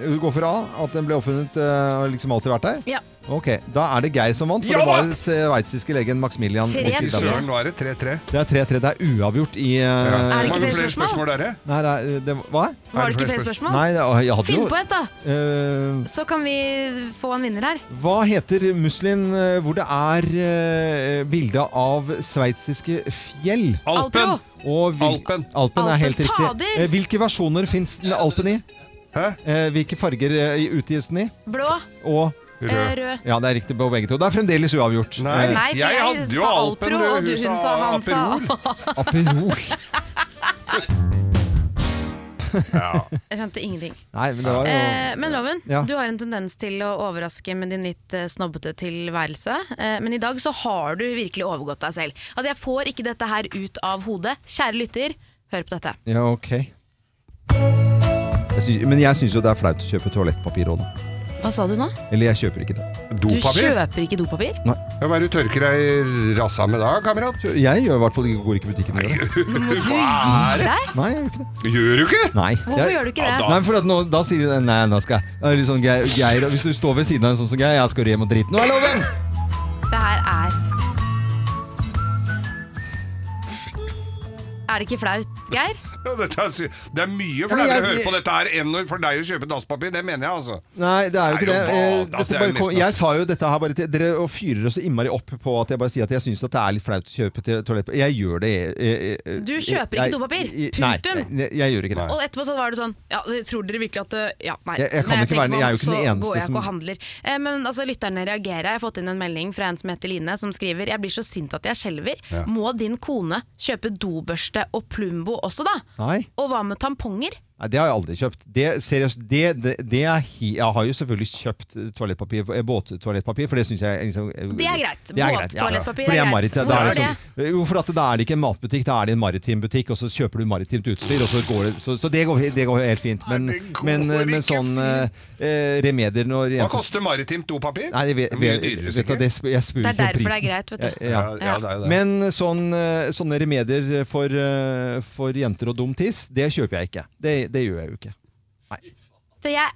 A: Du går for A, at den ble oppfunnet eh, og liksom alltid vært der?
C: Ja.
A: Ok, Da er det Geir som vant, for
B: Ja
A: det var
B: da!
A: den sveitsiske legen Maximilian.
C: Tre,
A: Bircher
B: Fy
A: Benner.
B: søren, nå er det 3-3.
A: Det er 3-3. Det er uavgjort i eh,
C: Er det ikke
B: Hvor mange
C: flere
B: flere
C: spørsmål?
B: spørsmål er det?
A: Nei, nei, det, hva?
C: Var det ikke flere spørsmål?
A: Nei, det- jeg hadde
C: Finn
A: jo-
C: på et, da!
A: Eh,
C: Så kan vi få en vinner her.
A: Hva heter muslin eh, hvor det er eh, bilde av sveitsiske fjell?
C: Alpen.
A: Og hvil-
B: Alpen.
A: Alpen er helt
C: Alpen,
A: riktig.
C: fader!
A: Eh, Hvilke versjoner fins Alpen i? Eh, Hvilke farger eh, i utgis den i?
C: Blå.
A: Og
C: Rød. Eh, rød.
A: Ja, det er riktig på begge to. Det er fremdeles uavgjort.
B: Nei,
A: Eh,
C: Nei, for
B: jeg
C: jeg,
B: hadde jo
C: sa
B: Alpen,
C: Alpro,
B: du,
C: og du,
B: hun
C: hun
B: sa
C: sa han sa
A: Aperol.
C: Jeg skjønte ingenting.
A: Nei, men det var jo
C: Eh, men Loven,
A: Ja.
C: du har en tendens til å overraske med din litt eh, snobbete tilværelse. Eh, men i dag så har du virkelig overgått deg selv. Altså, jeg får ikke dette her ut av hodet. Kjære lytter, hør på dette.
A: Ja, ok. Jeg syns- men jeg syns jo det er flaut å kjøpe toalettpapir òg, da.
C: Hva sa du nå?
A: Eller jeg kjøper ikke det.
C: Du kjøper ikke dopapir?
B: Ja, Hva er det du tørker deg i rassa med da, kamerat?
A: Jeg gjør i hvert fall ikke, går ikke i butikken og gjør det.
C: Må du
B: Hva
C: gi
B: er det?
C: deg?
A: Nei, jeg gjør ikke det.
B: Gjør du ikke?
A: Nei.
C: Hvorfor gjør du ikke det?
A: Nei, for at nå, da sier du det. Nei, nå skal jeg det er litt sånn Geir, Geir, Hvis du står ved siden av en sånn som Geir, jeg skal hjem og drite. Nå er loven!
C: Er det ikke flaut, Geir?
B: Dette er, sy- det er mye
A: Ja, men
B: flauere å
A: jeg-
B: høre på dette her enn når- for deg å kjøpe dasspapir. Det mener jeg, altså.
A: Nei, det er jo ikke
B: Det
A: det.
B: er jo
A: Eh,
B: vanlig, altså, det
A: Dette
B: er
A: bare
B: jo
A: kom,
B: nesten-
A: jeg sa jo dette her bare til dere og fyrer oss så innmari opp på at jeg bare sier at jeg syns det er litt flaut å kjøpe til toalettpapir. Jeg gjør det. eh, eh,
C: Du kjøper ikke
A: jeg-
C: dopapir.
A: i-
C: Punktum.
A: Nei, jeg, jeg gjør ikke det.
C: Og etterpå så var det sånn Ja, tror dere virkelig at det- Ja, nei.
A: Jeg- jeg kan
C: Når
A: ikke være
C: tenker
A: den-
C: meg
A: jeg er jo
C: om,
A: ikke den
C: så
A: eneste
C: går jeg
A: som-
C: ikke og handler. Eh, Men altså, lytterne reagerer. Jeg har fått inn en melding fra en som heter Line, som skriver Jeg blir så sint at jeg skjelver.
A: Ja.
C: Må din kone kjøpe dobørste og Plumbo også, da?
A: Nei.
C: Og hva med tamponger?
A: Nei, det har jeg aldri kjøpt. Det, seriøst, det, det, det er hi jeg har jo selvfølgelig kjøpt toalettpapir, eh, båttoalettpapir, for det syns jeg liksom,
C: Det er greit.
A: Det er greit, ja.
C: Båttoalettpapir
A: Fordi
C: er
A: jeg
C: greit.
A: maritim- da er
C: Hvorfor
A: det? sånn- Jo, for at da er det ikke en matbutikk, da er det en maritim butikk, og så kjøper du maritimt utstyr, og så går det Så, så det, går, det går helt fint. Men, men, eh, men sånn eh, eh, remedier når
B: Hva
A: jenter-
B: koster maritimt dopapir?
A: Nei, jeg, vet,
B: Det er mye
A: vet,
B: dyrere,
A: vet du,
B: sikkert.
A: det, sp- jeg spør
C: Det er
A: ikke om
C: derfor det er
A: prisen.
C: greit, vet du.
A: Ja,
B: Ja, ja, det er jo det.
A: Men sånn, eh, sånne remedier for, eh, for jenter og dum tiss, det kjøper jeg ikke. Det, det gjør jeg jo ikke.
C: Så jeg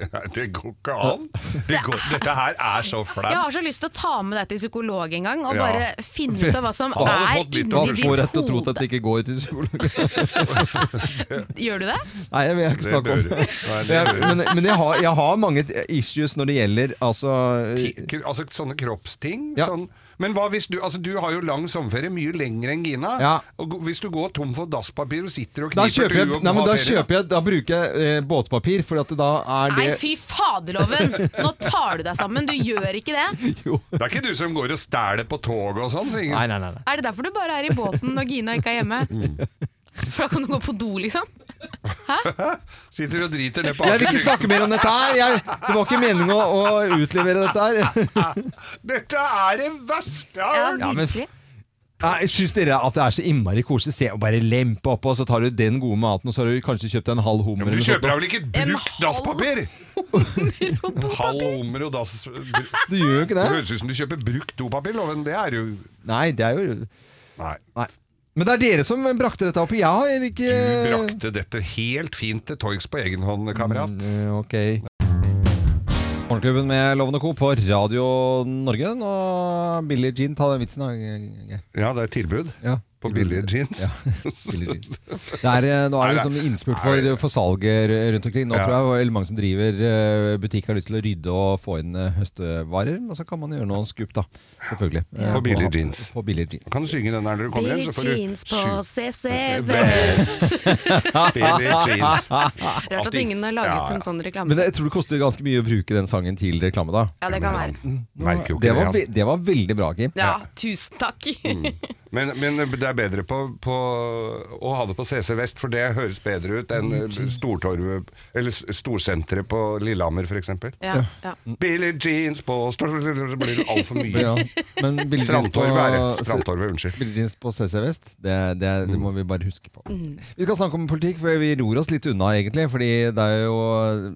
C: er
B: Det går ikke an! Det går, dette her er
C: Jeg
B: så
C: har
B: flaut.
C: så lyst til å ta med deg til psykolog en gang, og
B: Ja.
C: bare finne ut av hva som
A: Alle har
C: er
A: fått litt av
C: inni
A: få
C: ditt
A: rett til å tro
C: hode.
A: at det ikke går til psykolog.
C: Gjør du det?
A: Nei, jeg vil ikke
B: Det
A: snakke om
B: bør du.
A: det.
B: Nei, det
A: Jeg-
B: bør du.
A: Men, men jeg, har, jeg har mange issues når det gjelder altså
B: Ti- k- Altså sånne kroppsting. Sånn. Men hva hvis du Altså du har jo lang sommerferie, mye lenger enn Gina.
A: Ja.
B: Og go- hvis du går tom for dasspapir og sitter og
A: da
B: kniper
A: kjøper, jeg,
B: du og
A: nei, men
B: har
A: da
B: ferie,
A: kjøper jeg Da bruker jeg eh, båtpapir, for at da er det
C: Nei, fy faderloven! Nå tar du deg sammen, du gjør ikke det.
B: Det er ikke du som går og stæler på toget og sånn, sier Ingen.
A: Nei, nei, nei, nei.
C: Er det derfor du bare er i båten når Gina ikke er hjemme? Mm. For da kan du gå på do, liksom?
B: Sitter og driter ned på
A: Jeg vil ikke
B: Aker
A: snakke mer om dette her! Jeg, det var ikke meningen å, å utlevere dette her.
B: Dette er det verste jeg har
A: Ja, men f- Nei, Syns dere at det er så innmari koselig? Se og bare lempe oppå, og så tar du den gode maten, og så har du kanskje kjøpt deg en halv hummer.
B: Du
A: eller noe
B: kjøper da vel
A: sånt.
B: ikke brukt dasspapir? Halv hummer og dass...
A: Du gjør jo ikke det.
B: Det høres ut som du kjøper brukt dopapir, Loven. Det er jo
A: Nei, det er jo
B: Nei.
A: Men det er dere som brakte dette opp. Jeg har heller ikke
B: Du brakte dette helt fint til torgs på egen hånd, kamerat.
A: Eh, Ok. Morgenklubben med Loven og Co. på Radio Norge. Og Billie Jean, ta den vitsen. da.
B: Ja, det er tilbud på
A: Mm.
B: billige jeans.
A: billige jeans. Det er, eh, nå er det liksom innspurt for, for salget r- rundt omkring. Nå
B: Ja.
A: tror jeg veldig mange som driver eh, butikk, har lyst til å rydde og få inn eh, høstevarer. Og så kan man gjøre noen skup, da. Selvfølgelig. Eh,
B: På billige
A: ha-
B: jeans.
A: På billige jeans.
B: Kan du synge den der når du kommer hjem?
C: Billy
B: så får du
C: jeans på
B: sju-
C: CC
B: Vest.
C: Vest.
B: Billie jeans.
C: Rart at ingen har laget
A: Ja, ja.
C: en sånn reklame.
A: Men jeg tror det Mm. koster ganske mye å bruke den sangen til reklame, da.
C: Ja, det kan være.
B: Merker jo ikke
A: Det var,
B: det,
A: ve- det var veldig bra, Kim.
C: Ja, tusen takk.
A: Mm.
B: Men, men det er bedre på, på å ha det på CC Vest, for det høres bedre ut enn Stortorvet Eller s- Storsenteret på Lillehammer, f.eks.
C: Ja, ja.
A: Mm.
B: Billie jeans på stor- Det blir altfor mye.
A: Ja, men billige jeans på-
B: Strandtorvet er det. Strandtorvet, unnskyld.
A: Billie jeans på CC Vest, det, det, det
C: Mm.
A: må vi bare huske på. Vi skal snakke om politikk, for vi ror oss litt unna, egentlig. Fordi det er jo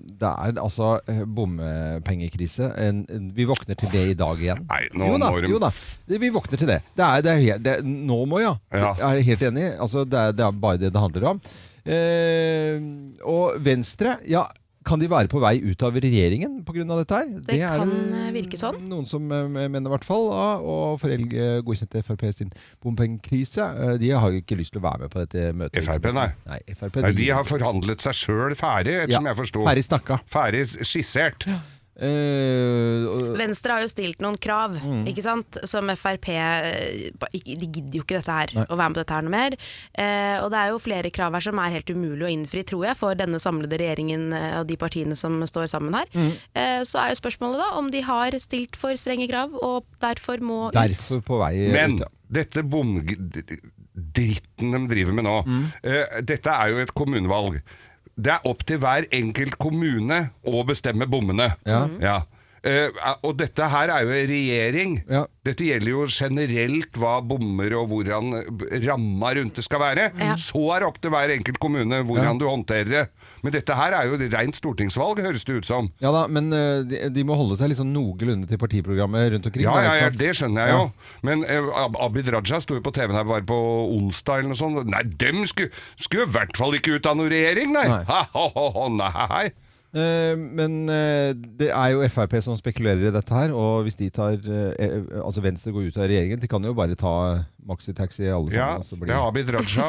A: Det er altså eh, bompengekrise. En, en, vi våkner til det i dag igjen.
B: nå
A: jo da,
B: må de-
A: jo da. Det- Vi våkner til det. Det er, det er, helt- det er Nå må, ja.
B: Ja.
A: Jeg er helt enig. Altså, det, er, det er bare det det handler om. Eh, og Venstre, ja. Kan de være på vei ut av regjeringen pga. dette her?
C: Det
A: er
C: kan eh, virke sånn.
A: noen som eh, mener i hvert fall, ja, og Forelg eh, godkjente Frp sin bompengekrise. Eh, De har jo ikke lyst til å være med på dette møtet.
B: Frp, nei.
A: Nei, FRP,
B: Nei, de har forhandlet seg sjøl ferdig, ettersom
A: Ja,
B: jeg forsto.
A: ferdig snakka.
B: Ferdig skissert.
A: Eh,
C: Venstre har jo stilt noen krav,
B: Mm.
C: ikke sant, som Frp eh, ba- ikke- De gidder jo ikke dette her,
A: Nei.
C: å være med på dette her noe mer. Eh, og det er jo flere krav her som er helt umulig å innfri, tror jeg, for denne samlede regjeringen eh, og de partiene som står sammen her.
A: Mm.
C: Eh, så er jo spørsmålet da om de har stilt for strenge krav, og derfor må
A: Derfor på vei
B: Men
A: ut. ja.
B: dette bomdritten de driver med nå
A: Mm.
B: eh, Dette er jo et kommunevalg. Det er opp til hver enkelt kommune å bestemme bommene.
A: Ja.
B: Ja. Eh, og dette her er jo en regjering. Dette gjelder jo generelt hva bommer og hvordan ramma rundt det skal være. Så er det opp til hver enkelt kommune hvordan du håndterer det. Men dette her er jo rent stortingsvalg, høres det ut som.
A: Ja da, men eh, de, de må holde seg liksom noenlunde til partiprogrammet rundt omkring.
B: Ja,
A: da,
B: ja,
A: ikke
B: ja,
A: sant?
B: det skjønner jeg
A: Ja.
B: jo. Men eh, Ab- Abid Raja sto jo på TV-en her bare på onsdag eller noe sånt. Nei, dem skulle, skulle i hvert fall ikke ut av noen regjering, nei!
A: Nei.
B: Ha, ha, ha, ha, nei.
A: Eh, Men eh, det er jo Frp som spekulerer i dette her. Og hvis de tar eh, eh, Altså Venstre går ut av regjeringen, de kan jo bare ta maxitaxi alle
B: Ja,
A: sammen. og Sånn, så blir-
B: det er Abid Raja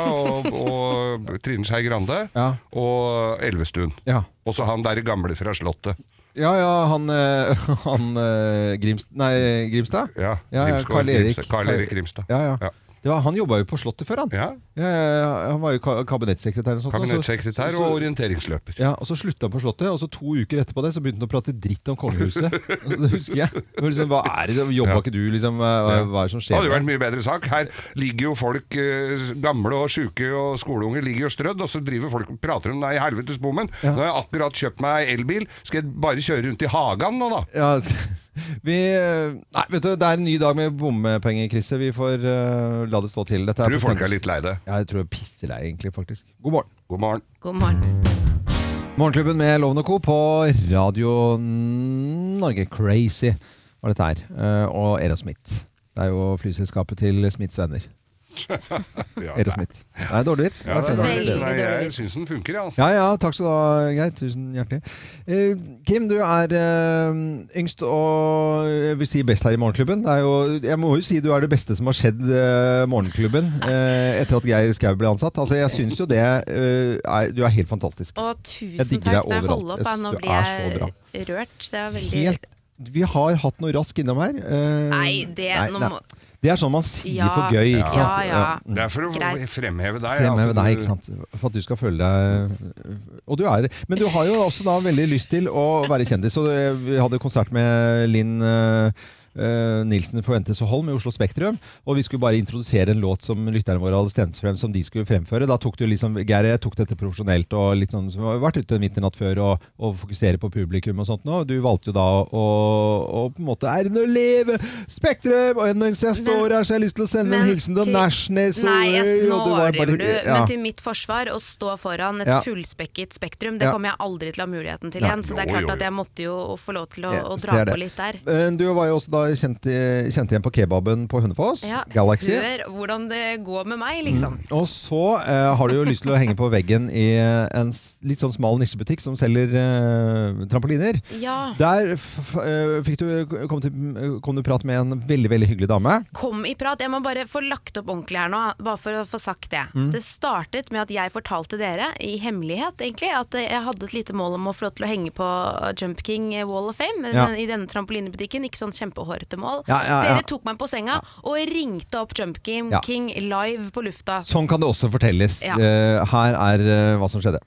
B: og, og Trine Skei Grande og Elvestuen. Og så han der gamle fra Slottet.
A: Ja, ja, han, eh, han eh, Grimst, nei, Grimstad?
B: Ja, Grimsgaard,
A: Karl Erik
B: Grimstad- Karl Erik Grimstad.
A: Ja, ja. Det var, han jobba jo på Slottet før, han.
B: Ja.
A: Ja, ja, han var jo ka- kabinettsekretær. og sånt, og så-
B: Kabinettsekretær
A: så-
B: og orienteringsløper.
A: Ja, og Så slutta han på Slottet, og så to uker etterpå det Så begynte han å prate dritt om kongehuset. det husker jeg. Det var liksom, hva er det, Jobba ikke du, liksom? Hva, hva er det
B: Det
A: som skjer?
B: hadde jo
A: med
B: vært en mye bedre sak. Her ligger jo folk, eh, gamle og sjuke og skoleunger, ligger jo strødd, og så driver folk og prater om nei, helvetes bommen. Nå har jeg akkurat kjøpt meg elbil, skal jeg bare kjøre rundt i hagen nå, da?
A: Ja, vi, eh, nei, vet du, det er en ny dag med bompengekrise. Vi får eh, la det stå til. Dette
B: Tror folk er litt lei
A: det? Ja, jeg tror jeg er pisselei, egentlig. faktisk. God morgen.
B: God morgen.
C: God morgen.
A: Morgenklubben med Loven og Co. på Radio Norge. Crazy var dette her. Eh, og Aerosmith. Det er jo flyselskapet til Smiths venner.
B: Ja,
A: Aerosmith. Det er dårlig vits.
B: Ja,
A: Det er
B: det
A: fin.
B: er, nei, jeg syns den funker, jeg. Altså.
A: Ja, ja, takk skal du ha, Geir. Tusen hjertelig. Eh, Kim, du er eh, yngst og jeg vil si best her i Morgenklubben. Det er jo, jeg må jo si du er det beste som har skjedd eh, Morgenklubben eh, etter at Geir Skau ble ansatt. Altså, jeg syns jo det eh, er, Du er helt fantastisk.
C: Å, tusen
A: Jeg digger
C: takk.
A: deg
C: Nei,
A: overalt.
C: hold opp,
A: Jeg
C: da.
A: synes
C: nå
A: du
C: blir jeg
A: er så bra.
C: rørt. Det er veldig
A: Helt Vi har hatt noe rask innom her. eh,
C: Nei, det- nå må-
A: Det er sånn man sier
C: Ja,
A: for gøy, ikke
C: ja,
A: sant?
C: ja.
A: Mm.
B: Det er for å
C: Greit.
B: fremheve deg. ja,
A: Fremheve
B: at
A: deg,
B: du-
A: ikke sant? For at du skal føle deg Og du er det. Men du har jo også da veldig lyst til å være kjendis. Og det- vi hadde konsert med Linn eh, eh, Nilsen Forventes og Holm i Oslo Spektrum. Og vi skulle bare introdusere en låt som lytterne våre hadde stemt frem, som de skulle fremføre. Da tok du liksom Geir, jeg tok dette profesjonelt og litt sånn som har vært ute midternatt før og, og fokusere på publikum og sånt nå. Du valgte jo da å, å på en måte Er det noe liv? Spektrum! Og mens jeg står her, så har jeg lyst til å sende en
C: men
A: hilsen til
C: til-
A: Nashnes.
C: Nei, jeg, nå
A: og du var bare-
C: overdriver du.
A: ja.
C: Men til mitt forsvar, å stå foran et
A: Ja.
C: fullspekket Spektrum, det
A: Ja.
C: kommer jeg aldri til å ha muligheten til
A: Nei.
C: igjen. Så det er
A: Jo,
C: klart
A: jo,
C: at jeg måtte jo få lov til å,
A: Jeg
C: å dra
A: ser det.
C: på litt der.
A: Eh, Du var jo også da kjent, i- kjent igjen på kebaben på Hønefoss,
C: Ja,
A: Galaxy.
C: Hør hvordan det går med meg, liksom.
A: Og så eh, har du jo lyst til å henge på veggen i eh, en s- litt sånn smal nisjebutikk som selger eh, trampoliner.
C: Mm. Ja.
A: Der f eh, fikk du, kom, til, kom du prat med en veldig, veldig hyggelig dame.
C: Kom i prat. Jeg må bare få lagt opp ordentlig her nå, bare for å få sagt det.
A: Mm.
C: Det startet med at jeg fortalte dere, i hemmelighet egentlig, at jeg hadde et lite mål om å få lov til å henge på Jump King Wall of Fame
A: Ja.
C: den- i denne trampolinebutikken. Ikke sånn kjempehårete mål.
A: Ja, ja, ja.
C: Dere tok meg på senga og ringte opp Jump King,
A: Ja.
C: King live på lufta.
A: Sånn kan det også fortelles.
C: Ja.
A: Eh, her er eh, hva som skjedde.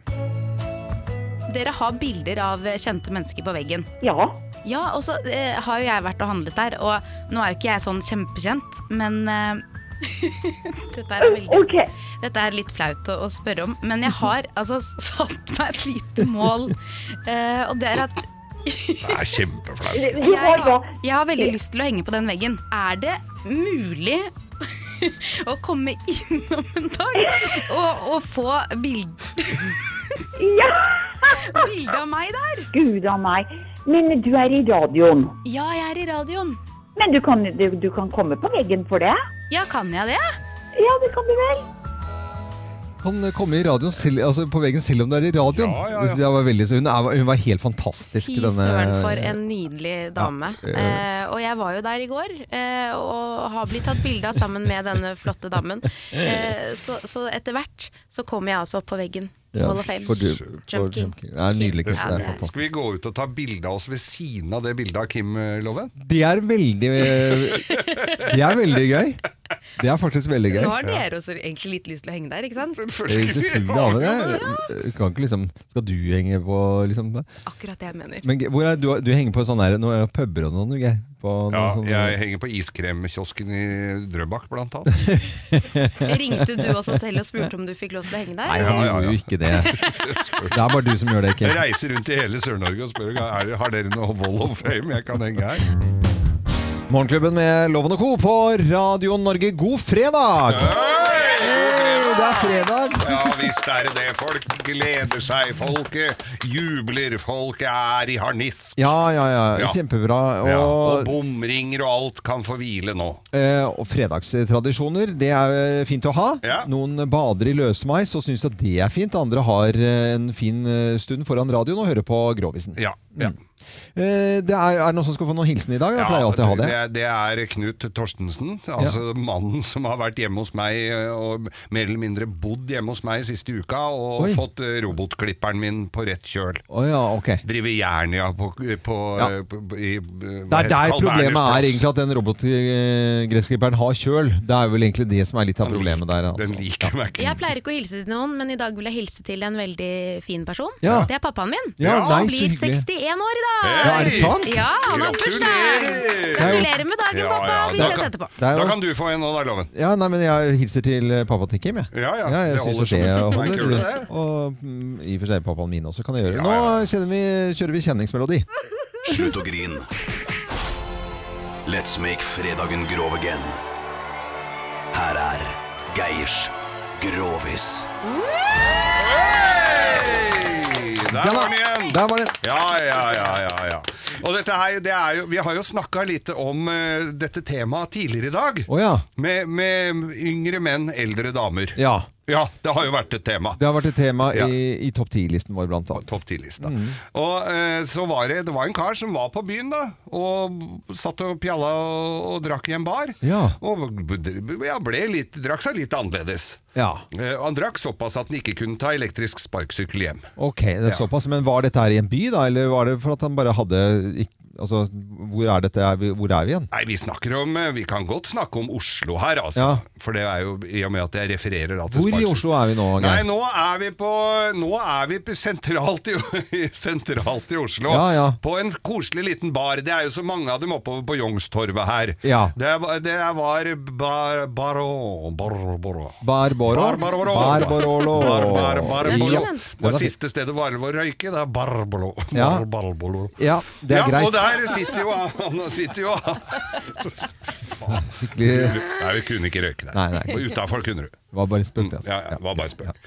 C: Dere har bilder av eh, kjente mennesker på veggen.
U: Ja.
C: Ja, og så eh, har jo jeg vært og handlet der, og nå er jo ikke jeg sånn kjempekjent, men eh, dette, er veldig, dette er litt flaut å, å spørre om. Men jeg har altså satt meg et lite mål, eh, og det er at
B: Det er kjempeflaut.
C: jeg har, jeg har veldig lyst til å henge på den veggen. Er det mulig å komme innom en dag og, og få bild... bilde av meg der?
U: Gud a meg. Men du er i radioen.
C: Ja, jeg er i radioen.
U: Men du kan, du, du kan komme på veggen for det?
C: Ja, kan jeg det?
U: Ja, det kan du vel.
A: Kan eh, komme i radioen, selv- altså på veggen selv om du er i radioen.
C: ja, ja.
A: Det var veldig, så hun, er, hun var helt fantastisk.
C: Fy
A: denne-
C: søren, for en nydelig dame.
A: Ja, øh.
C: Eh, og jeg var jo der i går, eh, og har blitt tatt bilde av sammen med denne flotte damen. Eh, så, så etter hvert så kom jeg altså opp på veggen.
A: Ja,
C: Hall of Fame.
A: for du- for
C: Jump King.
A: Jump King. Det er nydelig. Kim.
C: Ja,
A: det
C: det
A: er
C: er-
A: fantastisk.
B: Skal vi gå ut og ta bilde av oss ved siden av det bildet av Kim eh, Loven?
A: Det er veldig eh, Det er veldig gøy. Det er faktisk veldig gøy.
C: Nå har dere også egentlig litt lyst til å henge der, ikke sant?
A: Eh, Selvfølgelig har vi det. Kan ikke liksom, skal du henge på liksom det?
C: Akkurat det jeg mener.
A: Men Ge- hvor er, du, du henger på sånn sånne her, noen puber og noen, du, Geir? På sånn- noen
B: Ja,
A: sånne-
B: jeg henger på iskremkiosken i Drøbak, blant annet.
C: Ringte du også selv og spurte om du fikk lov til å henge der?
A: Nei, han gjorde jo ikke det. Det er bare du som gjør det, Kim.
B: Jeg reiser rundt i hele Sør-Norge og spør er, det- har dere noe Wall of Fame jeg kan henge her.
A: Morgenklubben med Loven og Co. på Radio Norge, god fredag! Hey! det er fredag!
B: Ja visst er det det. Folk gleder seg. Folket jubler. Folket er i harnisk.
A: Ja, ja, ja. Kjempebra. Og,
B: Ja, og bomringer og alt kan få hvile nå.
A: eh, og fredagstradisjoner, det er eh, fint å ha.
B: Ja.
A: Noen bader i løsmeis og syns at det er fint. Andre har eh, en fin eh, stund foran radioen og hører på Grovisen.
B: Ja. ja.
A: Eh, det er, er det noen som skal få noen hilsen i dag? Jeg pleier alltid å ha det.
B: Det, er Knut Torstensen, altså mannen som har vært hjemme hos meg eh, og mer eller mindre bodd hjemme hos meg siste uka og
A: Oi.
B: fått eh, robotklipperen min på rett kjøl.
A: Å ja, ok.
B: Driver Jernia på, på,
A: Ja.
B: eh, på, i, eh,
A: Det
B: hva heter
A: er der
B: Carl
A: problemet
B: Berners
A: er
B: plass.
A: egentlig at den robotgressklipperen har kjøl. Det er vel egentlig det som er litt av problemet der. altså.
B: Den liker meg ikke.
C: Jeg pleier ikke å hilse til noen, men i dag vil jeg hilse til en veldig fin person.
A: Ja.
C: Det er pappaen min.
A: Ja,
C: han
A: nei, så
C: blir
A: hyggelig.
C: 61 år i dag!
A: Ja, er det sant?
C: Ja, han har bursdag! Gratulerer med dagen, pappa! Vi
A: Da
C: ses
A: kan-
C: etterpå.
A: Det er jo-
B: Da kan du få en nå, da, Loven.
A: Ja, nei, men jeg hilser til pappaen til Kim, jeg.
B: Ja, ja,
A: jeg
B: det
A: synes
B: holder
A: at det
B: som- Nei,
A: holder.
B: gjør det det?
A: Og mm, i og for seg pappaen min også kan jeg gjøre. det. Nå kjenner vi, kjører vi kjenningsmelodi.
F: Slutt å grine. Let's make fredagen grov again. Her er Geirs Grovis.
B: Der
F: Ja da,
B: var den igjen!
A: Der var den.
B: Ja, ja, ja, ja, ja. Og dette her, det er jo, vi har jo snakka litt om eh, dette temaet tidligere i dag.
A: Å ja.
B: Med, med yngre menn, eldre damer.
A: ja.
B: Ja, det har jo vært et tema.
A: Det har vært et tema
B: Ja.
A: i, i topp 10-listen vår, blant annet.
B: Topp 10-lista.
A: Mm.
B: Og eh, så var det, det var en kar som var på byen, da. Og satt og pjalla og, og drakk i en bar.
A: Ja.
B: Og b- d- ja, ble litt, drakk seg litt annerledes.
A: Ja.
B: Eh, han drakk såpass at han ikke kunne ta elektrisk sparkesykkel hjem.
A: Ok, det er
B: Ja.
A: såpass. Men var dette her i en by, da? Eller var det for at han bare hadde ikk- Altså, hvor er dette? Er vi- Hvor er vi igjen?
B: Nei, vi snakker om eh, Vi kan godt snakke om Oslo her, altså.
A: Ja.
B: For det er jo i og med at jeg refererer da til
A: Hvor i
B: sparkesykkel.
A: Oslo er vi nå, Geir?
B: Nei, nå er vi på Nå er vi på sentralt i, sentralt i Oslo.
A: Ja, ja.
B: På en koselig liten bar. Det er jo så mange av dem oppover på Youngstorget her.
A: Ja.
B: Det, var- det var bar, Baro Baro Baro
A: Barboro?
B: Barbarolo.
A: Barbarolo.
B: Bar, bar, Barbarolo.
A: Ja.
B: Det var siste stedet var å røyke, det er Barbolo.
A: Ja.
B: Barbolo.
A: Ja, det er
B: ja,
A: greit.
B: Og der sitter jo han. han Sitter jo han.
A: Skikkelig
B: Nei, vi kunne ikke røyke der.
A: Nei, nei.
B: Og utenfor kunne du.
A: Det var bare spøk, det, altså.
B: Ja, ja, det var bare spøk.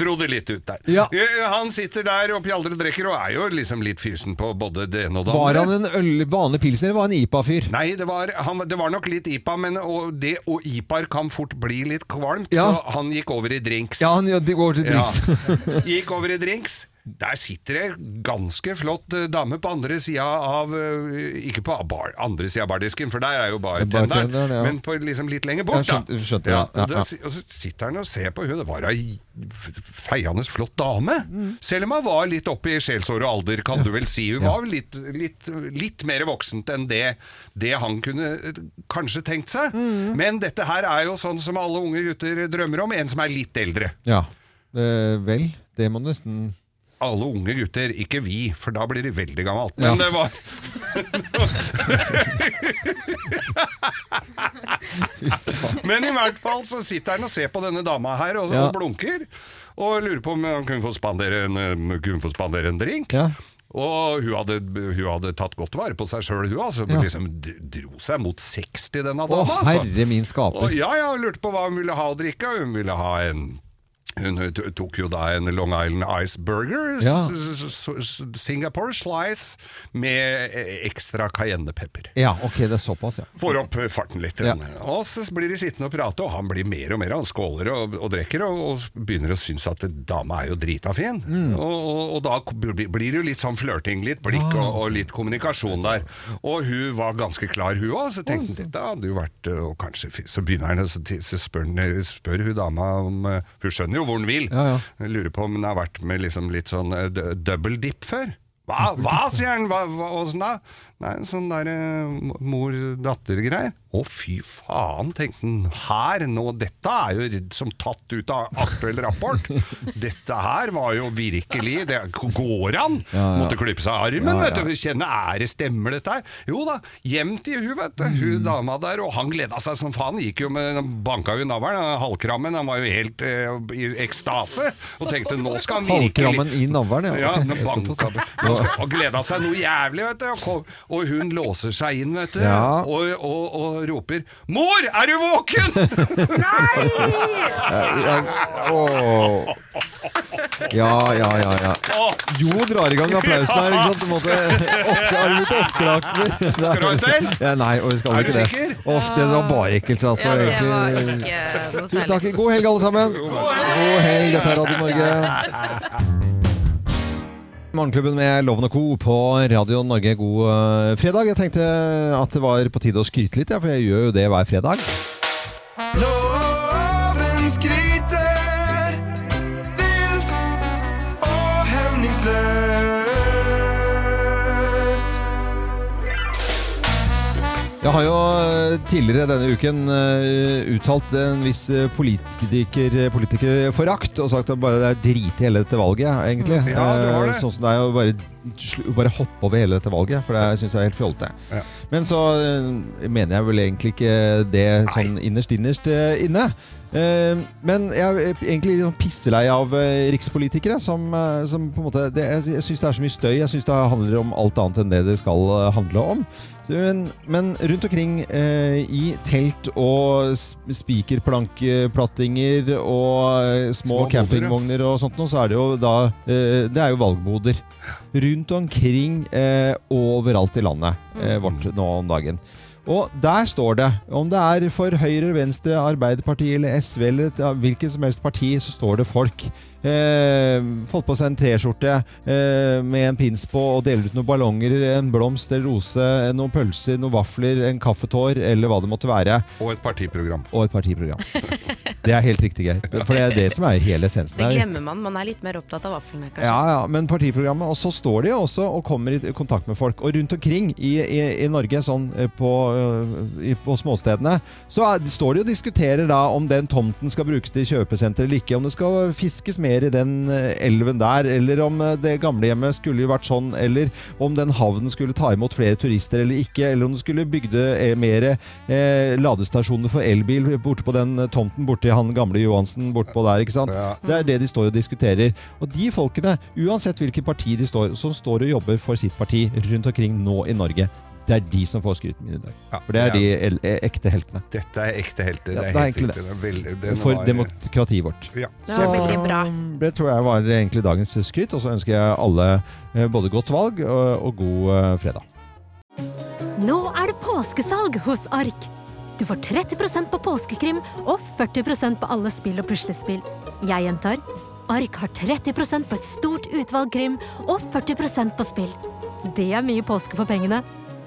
B: Dro det litt ut der.
A: Ja.
B: Eh, Han sitter der og pjaldrer og drikker og er jo liksom litt fysen på både det ene og det
A: Var
B: andre.
A: han en øl, vanlig pilsner, eller var han IPA-fyr?
B: Nei, det var, han, det var nok litt IPA, men og det og IPA-er kan fort bli litt kvalmt,
A: Ja.
B: så han gikk over i drinks.
A: Ja, han ja, det går til drinks.
B: Ja. Gikk over i drinks. Der sitter det ganske flott eh, dame på andre sida av eh, Ikke på bar, andre sida av bardisken, for der er jo bartenderen,
A: Bartenderen, ja.
B: men på liksom litt lenger bort,
A: Ja, skjønt-
B: da.
A: skjønte jeg, ja,
B: og da
A: ja.
B: si- Og så sitter han og ser på hun, det var ei feiende flott dame. Selv om hun var litt oppe i sjelsår og alder, kan du vel si. Hun var vel litt, litt, litt mer voksent enn det, det han kunne eh, kanskje tenkt seg.
A: Mm.
B: Men dette her er jo sånn som alle unge gutter drømmer om, en som er litt eldre.
A: Ja. Eh, vel, det må du nesten
B: Alle unge gutter, ikke vi, for da blir det veldig gammelt.
A: Ja.
B: Men det var Men i hvert fall så sitter han og ser på denne dama her og,
A: Ja.
B: og blunker. Og lurer på om han kunne få spandere en, eh, kunne få spandere en drink.
A: Ja.
B: Og hun hadde, hun hadde tatt godt vare på seg sjøl, hun. Altså,
A: Ja.
B: liksom d- dro seg mot 60, denne
A: Å,
B: dama. altså.
A: herre min skaper.
B: Og, ja, ja, hun lurte på hva hun ville ha å drikke. Hun ville ha en hun t- tok jo da en Long Island Ice Burger, s-
A: Ja.
B: s- s- Singapore Slice, med eh, ekstra cayennepepper.
A: Ja, ok, det er såpass, ja.
B: Får opp eh, farten litt.
A: Ja.
B: Og så blir de sittende og prate, og han blir mer og mer. Han skåler og, og drikker, og, og begynner å synes at dama er jo drita fin.
A: Mm.
B: Og, og, og da k- bli- blir det jo litt sånn flørting, litt blikk
A: Ah.
B: og, og litt kommunikasjon der. Og hun var ganske klar, hun òg, så tenkte han da hadde jo vært øh, og kanskje, fi- Så begynner han, og så, ti- så spør, han- spør hun dama om øh, Hun skjønner jo hvor hun vil.
A: Ja, ja.
B: Jeg Lurer på om hun har vært med liksom litt sånn eh, d- double dip før. Hva, hva sier han? Hva, hva, åssen da? Nei, sånn der eh, mor-datter-greier. Å, fy faen, tenkte han. Her, nå, dette er jo ridd som tatt ut av aktuell rapport. Dette her var jo virkelig Det går an!
A: Ja, ja.
B: Måtte klippe seg armen,
A: Ja,
B: vet
A: ja.
B: du. for Kjenne ære stemmer dette her. Jo da, hjem til hun, vet du.
A: Mm.
B: Hun dama der, og han gleda seg som faen. Gikk jo med, Banka jo navlen, halvkrammen. Han var jo helt eh, i ekstase. Og tenkte nå skal han virkelig
A: Halvkrammen i navlen, ja.
B: ja,
A: Ok,
B: den
A: såpass,
B: banka,
A: ja.
B: og gleda seg noe jævlig, vet du. Og, kom, Og hun låser seg inn, vet du,
A: Ja.
B: og, og, og roper 'Mor, er du våken?'
A: Jeg- jeg- åh. Ja, ja, ja, ja. Jo drar i gang applausen her, ikke sant? På en måte. Opp- Har du blitt oppdratt?
B: Skal du ha en til?
A: Ja, nei, og vi skal
B: Er
A: ikke
B: du
A: det.
B: sikker?
A: Uff, det var bare ekkelt, altså.
B: Ja, det
A: egentlig.
B: var
C: ikke noe
A: Tusen takk. God helg, alle sammen. God helg. Dette er Radio Norge. Morgenklubben med Loven og Co. på Radio Norge, god eh, fredag. Jeg tenkte at det var på tide å skryte litt, ja, for jeg gjør jo det hver fredag.
R: Loven skryter vilt og hemningsløst.
A: Jeg har jo eh, tidligere denne uken eh, uttalt en viss eh, politiker, eh, politikerforakt og sagt at bare det er drit i hele dette valget, egentlig.
B: Ja, du har det.
A: Eh, Sånn som det er å bare, sl- bare hoppe over hele dette valget, for det er- synes jeg er helt fjollete. Men så eh, mener jeg vel egentlig ikke det sånn innerst innerst eh, inne. Eh, Men jeg er egentlig litt sånn pisselei av eh, rikspolitikere. Som, eh, som på en måte det, Jeg, jeg syns det er så mye støy. Jeg syns det handler om alt annet enn det det skal eh, handle om. Så, Men, men rundt omkring eh, i telt og s- spikerplankeplattinger og eh, små,
B: Små boder,
A: campingvogner og sånt noe, så er det jo da eh, Det er jo valgboder. Rundt omkring eh, overalt i landet eh, vårt nå om dagen. Og der står det, om det er for Høyre, Venstre, Arbeiderpartiet eller SV eller et, ja, hvilket som helst parti, så står det folk. Eh, fått på seg en T-skjorte eh, med en pins på og deler ut noen ballonger, en blomst, en rose, noen pølser, noen vafler, en kaffetår eller hva det måtte være.
B: Og et partiprogram.
A: Og et partiprogram. Det er helt riktig, Geir. For det er det som er hele essensen
C: Det
A: her.
C: glemmer man. Man er litt mer opptatt av vaflene, kanskje.
A: Ja, ja, men partiprogrammet. Og så står de jo også og kommer i kontakt med folk. Og rundt omkring i, i, i Norge, sånn eh, på, eh, i, på småstedene, så er, står de og diskuterer da om den tomten skal brukes til kjøpesenter eller ikke. Om det skal fiskes mer i den eh, elven der, eller om eh, det gamlehjemmet skulle jo vært sånn, eller om den havnen skulle ta imot flere turister eller ikke, eller om du skulle bygde eh, mer eh, ladestasjoner for elbil borte på den eh, tomten borti han gamle Johansen bortpå der, ikke sant? Det er det de står og diskuterer. Og de folkene, uansett hvilket parti de står, som står og jobber for sitt parti rundt omkring nå i Norge, det er de som får skryten min i dag. For det er de el- eh, ekte heltene.
B: Dette er ekte helter. det er,
A: Ja, det er
B: helt
A: egentlig
B: riktig. Det er veldig- den
A: For
B: var-
A: demokratiet vårt.
B: Ja.
C: Det var veldig bra.
A: Det tror jeg var egentlig dagens skryt, og så ønsker jeg alle eh, både godt valg og, og god eh, fredag.
E: Nå er det påskesalg hos Ark. Du får 30 på påskekrim og 40 på alle spill og puslespill. Jeg gjentar Ark har 30 på et stort utvalg krim og 40 på spill. Det er mye påske for pengene.